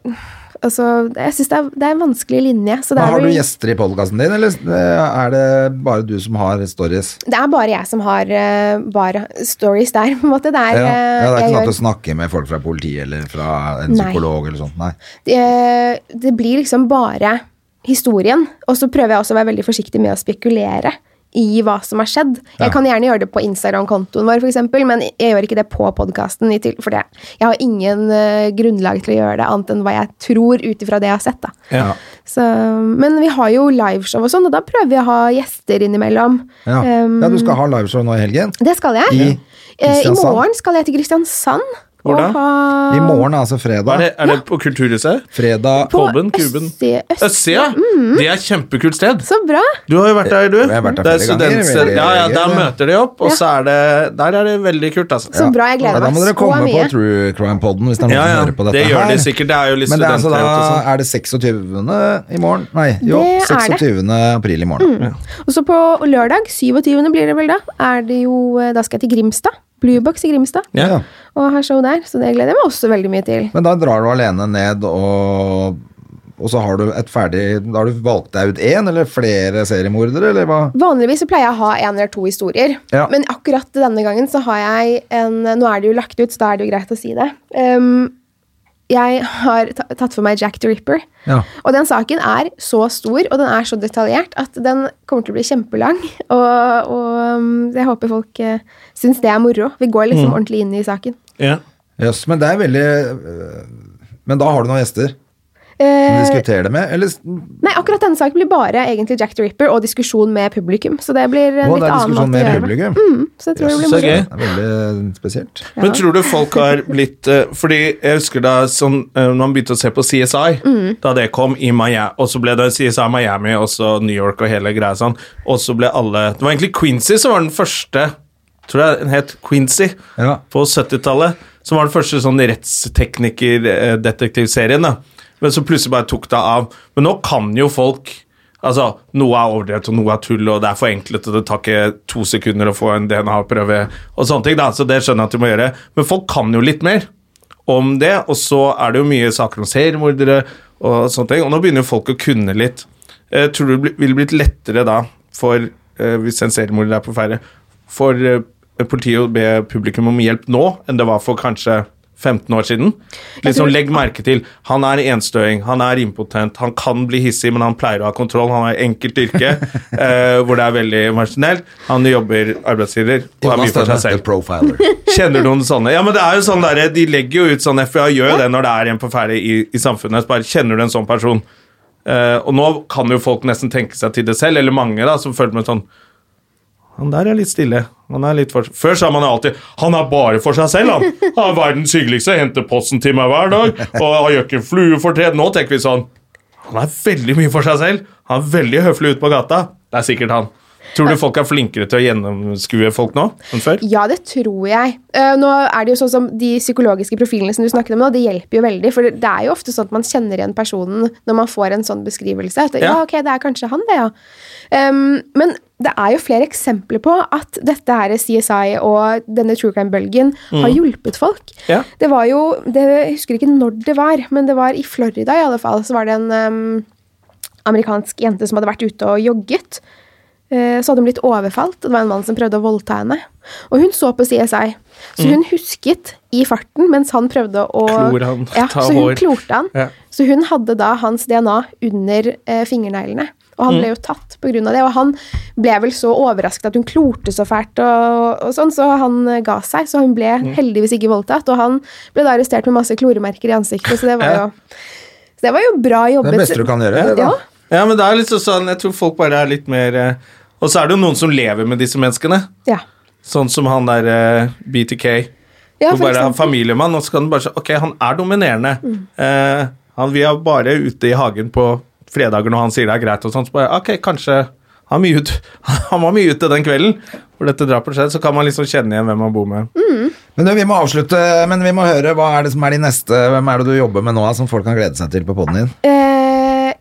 altså, Jeg syns det, er- det er en vanskelig linje. Så det
Men
er,
har du
vel,
gjester i podkasten din, eller eh, er det bare du som har stories?
det er bare jeg som har eh, bare stories der, på en måte. Det er,
ja.
eh,
ja, det er ikke
jeg
sånn
gjør-
at du snakker med folk fra politiet eller fra en
Nei.
psykolog eller sånt, nei.
det, det blir liksom bare historien. Og så prøver jeg også å være veldig forsiktig med å spekulere i hva som har skjedd. Jeg kan gjerne gjøre det på Instagram-kontoen vår, for eksempel, men jeg gjør ikke det på podkasten. For det, jeg har ingen eh, grunnlag til å gjøre det, annet enn hva jeg tror ut ifra det jeg har sett. da.
Ja.
Så, men vi har jo liveshow og sånn, og da prøver vi å ha gjester innimellom.
Ja.
Um,
ja, du skal ha liveshow nå i helgen.
Det skal jeg.
I
Eh, I
Kristiansand?
morgen skal jeg til Kristiansand.
Hvor da?
og ha-
I morgen, altså
Er,
fredag.
det, er det på Kulturhuset?
Fredag
på
Kolben, Kuben?
Østsida.
Østsida? Det er et kjempekult sted.
Så bra!
Du har jo vært der, du.
Jeg har vært der
det er
flere ganger,
studentsted.
veldig
Ja, ja,
gøy,
der
det.
møter de opp, og så er det Der er det veldig kult, altså.
Så bra, jeg gleder
Da
meg
må dere
så
komme
mye.
på True Crime Podden hvis det er noen
Ja, ja,
som hører på dette
det gjør
her.
de sikkert. Det er jo litt
Men det er, altså
studenter og
da,
sånn.
er det 26. i morgen? Nei, jo,
Det er det. Mm.
26. april i morgen. Ja.
Og så på lørdag, 27. blir det vel da, er det jo, eh, da skal jeg til Grimstad. Bluebox i Grimstad.
Ja.
Ja.
Og har show der, så det gleder jeg meg også veldig mye til.
Men da drar du alene ned og og så har du et ferdig Da har du valgt deg ut én eller flere seriemordere, eller hva?
Vanligvis så pleier jeg å ha en eller to historier,
Ja.
men akkurat denne gangen så har jeg en Nå er det jo lagt ut, så da er det jo greit å si det. Um, jeg har ta- tatt for meg Jack the Ripper.
Ja.
Og den saken er så stor, og den er så detaljert, at den kommer til å bli kjempelang. Og, og um, jeg håper folk eh, syns det er moro. Vi går liksom
Mm.
ordentlig inn i saken.
Ja.
Jøss, men det er veldig øh, Men da har du noen gjester som
Eh,
diskuterer det med? Eller s-
nei, akkurat denne saken blir bare egentlig Jack the Ripper og diskusjon med publikum. Så det blir en
Å,
litt
det er
annen
diskusjon
måte å
med
gjøre det
publikum?
på. Så jeg tror det
så
blir
gøy.
morsomt.
Det er veldig spesielt.
Men tror du folk har blitt eh, Fordi jeg husker da sånn, eh, når man begynte å se på CSI, da det kom i Miami, og så ble det CSI Miami og så New York og hele greia sånn, og så ble alle Det var egentlig Quincy som var den første Tror jeg den het Quincy
Ja.
på 70-tallet, som var den første sånn rettstekniker-detektivserien. da. Men så plutselig bare tok det av. Men nå kan jo folk Altså, Noe er overdrevet, og noe er tull, og det er forenklet, og det tar ikke to sekunder å få en DNA-prøve, og sånne ting, da, så det skjønner jeg at de må gjøre. Men folk kan jo litt mer om det, og så er det jo mye saker om seriemordere og sånne ting, og nå begynner jo folk å kunne litt. Eh, tror du det bli- ville blitt lettere da, for, eh, hvis en seriemorder er på ferde, for eh, politiet å be publikum om hjelp nå, enn det var for kanskje 15 år siden? Liksom, legg merke til, han er enstøing, han er impotent, han kan bli hissig, men han pleier å ha kontroll, han har enkelt yrke, eh, hvor det er veldig marginelt, han jobber arbeidstider, og er mye for seg selv.
profiler.
Kjenner noen sånne? Ja, men det er jo sånn der, De legger jo ut sånn FBI gjør jo det når det er en på ferde i, i samfunnet. Så bare kjenner du en sånn person. Eh, og nå kan jo folk nesten tenke seg til det selv, eller mange da, som føler med sånn Han der er litt stille. Han er litt for... Før sa man jo alltid Han er bare for seg selv, han. Han er verdens hyggeligste, henter posten til meg hver dag, og han gjør ikke en flue for tre. Nå tenker vi sånn Han er veldig mye for seg selv. Han er veldig høflig ute på gata. Det er sikkert han. Tror du folk er flinkere til å gjennomskue folk nå enn før?
Ja, det tror jeg. Eh, nå er det jo sånn som De psykologiske profilene som du snakket om, nå, det hjelper jo veldig. For det er jo ofte sånn at man kjenner igjen personen når man får en sånn beskrivelse. At, ja.
Ja.
ok, det er kanskje han, det, ja. Ehm, men det er jo flere eksempler på at dette her CSI og denne true crime-bølgen har hjulpet folk.
Ja.
Det var jo det, Jeg husker ikke når det var, men det var i Florida i alle fall. Så var det en ehm, amerikansk jente som hadde vært ute og jogget. Eh, Så hadde hun blitt overfalt, og det var en mann som prøvde å voldta henne. Og hun så på CSI, så hun husket i farten mens han prøvde å
Mm. Klor han,
ja,
ta
Så hun
hår.
klorte han.
Ja.
Så hun hadde da hans DNA under eh, fingerneglene. Og
Mm.
han ble jo tatt pga. det, og han ble vel så overrasket at hun klorte så fælt, og, og sånn, så han eh, ga seg. Så hun ble
Mm.
heldigvis ikke voldtatt, og han ble da arrestert med masse kloremerker i ansiktet, så det var jo, så det var jo bra
Det
jobbet.
er det beste du kan gjøre. det da.
Ja.
Ja, men det er litt sånn, jeg tror folk bare er litt mer eh, Og så er det jo noen som lever med disse menneskene.
Ja.
Sånn som han der eh, BTK.
Ja,
Hvor
for
bare er
eksempel. Mm.
familiemann, og så kan du bare si Ok, han er dominerende. Eh, han, vi er bare ute i hagen på fredager når han sier det er greit og sånn, så bare Ok, kanskje han, er mye ut, han var mye ute den kvelden hvor dette drapet skjedde, så kan man liksom kjenne igjen hvem man bor med.
Mm.
Men du, vi må avslutte, men vi må høre hva er det som er de neste Hvem er det du jobber med nå som folk kan glede seg til på poden din?
Eh,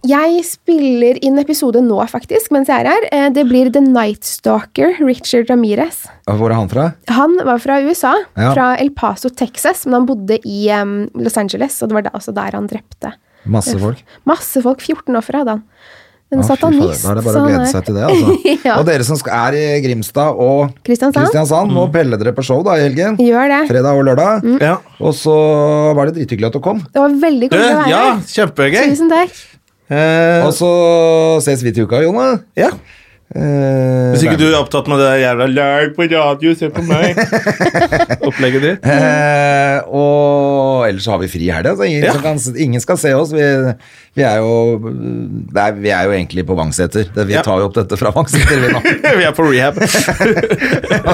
jeg spiller inn episode nå, faktisk, mens jeg er her. Eh, det blir The Night Stalker, Richard Ramirez.
Og Hvor er han fra?
Han var fra USA,
Ja.
fra El Paso, Texas, men han bodde i em, Los Angeles, og det var da, også der han drepte.
Masse
Eh,
folk.
Masse folk. 14 ofre hadde han. En
Å, fy fader,
satanist.
Da er det bare
så
å
han
glede
er-
seg til det, altså.
Ja.
Og dere som sk- er i Grimstad og
Kristiansand?
Kristiansand
Mm.
må pelle dere på show da i helgen.
Gjør det.
Fredag og lørdag.
Mm.
Ja.
Og så var det drithyggelig at du kom.
Det var veldig
Du,
koselig å være
ja,
her.
kjempegøy.
Tusen takk.
Eh,
Og så ses vi til uka, Jone.
ja.
Eh,
Hvis ikke
det
du er opptatt med det der jævla lag på radio, se på meg. Opplegget ditt.
er- Eh, og ellers så har vi fri i helga. så Ingen,
Ja.
som kan s- ingen skal se oss. Vi, vi, er jo, det er, vi er jo egentlig på Vangseter. Det- Vi
Ja.
tar jo opp dette fra Vangseter, vi nå.
Vi er på rehab.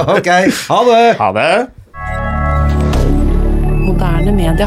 ok, ha det!
Ha det.
Moderne media.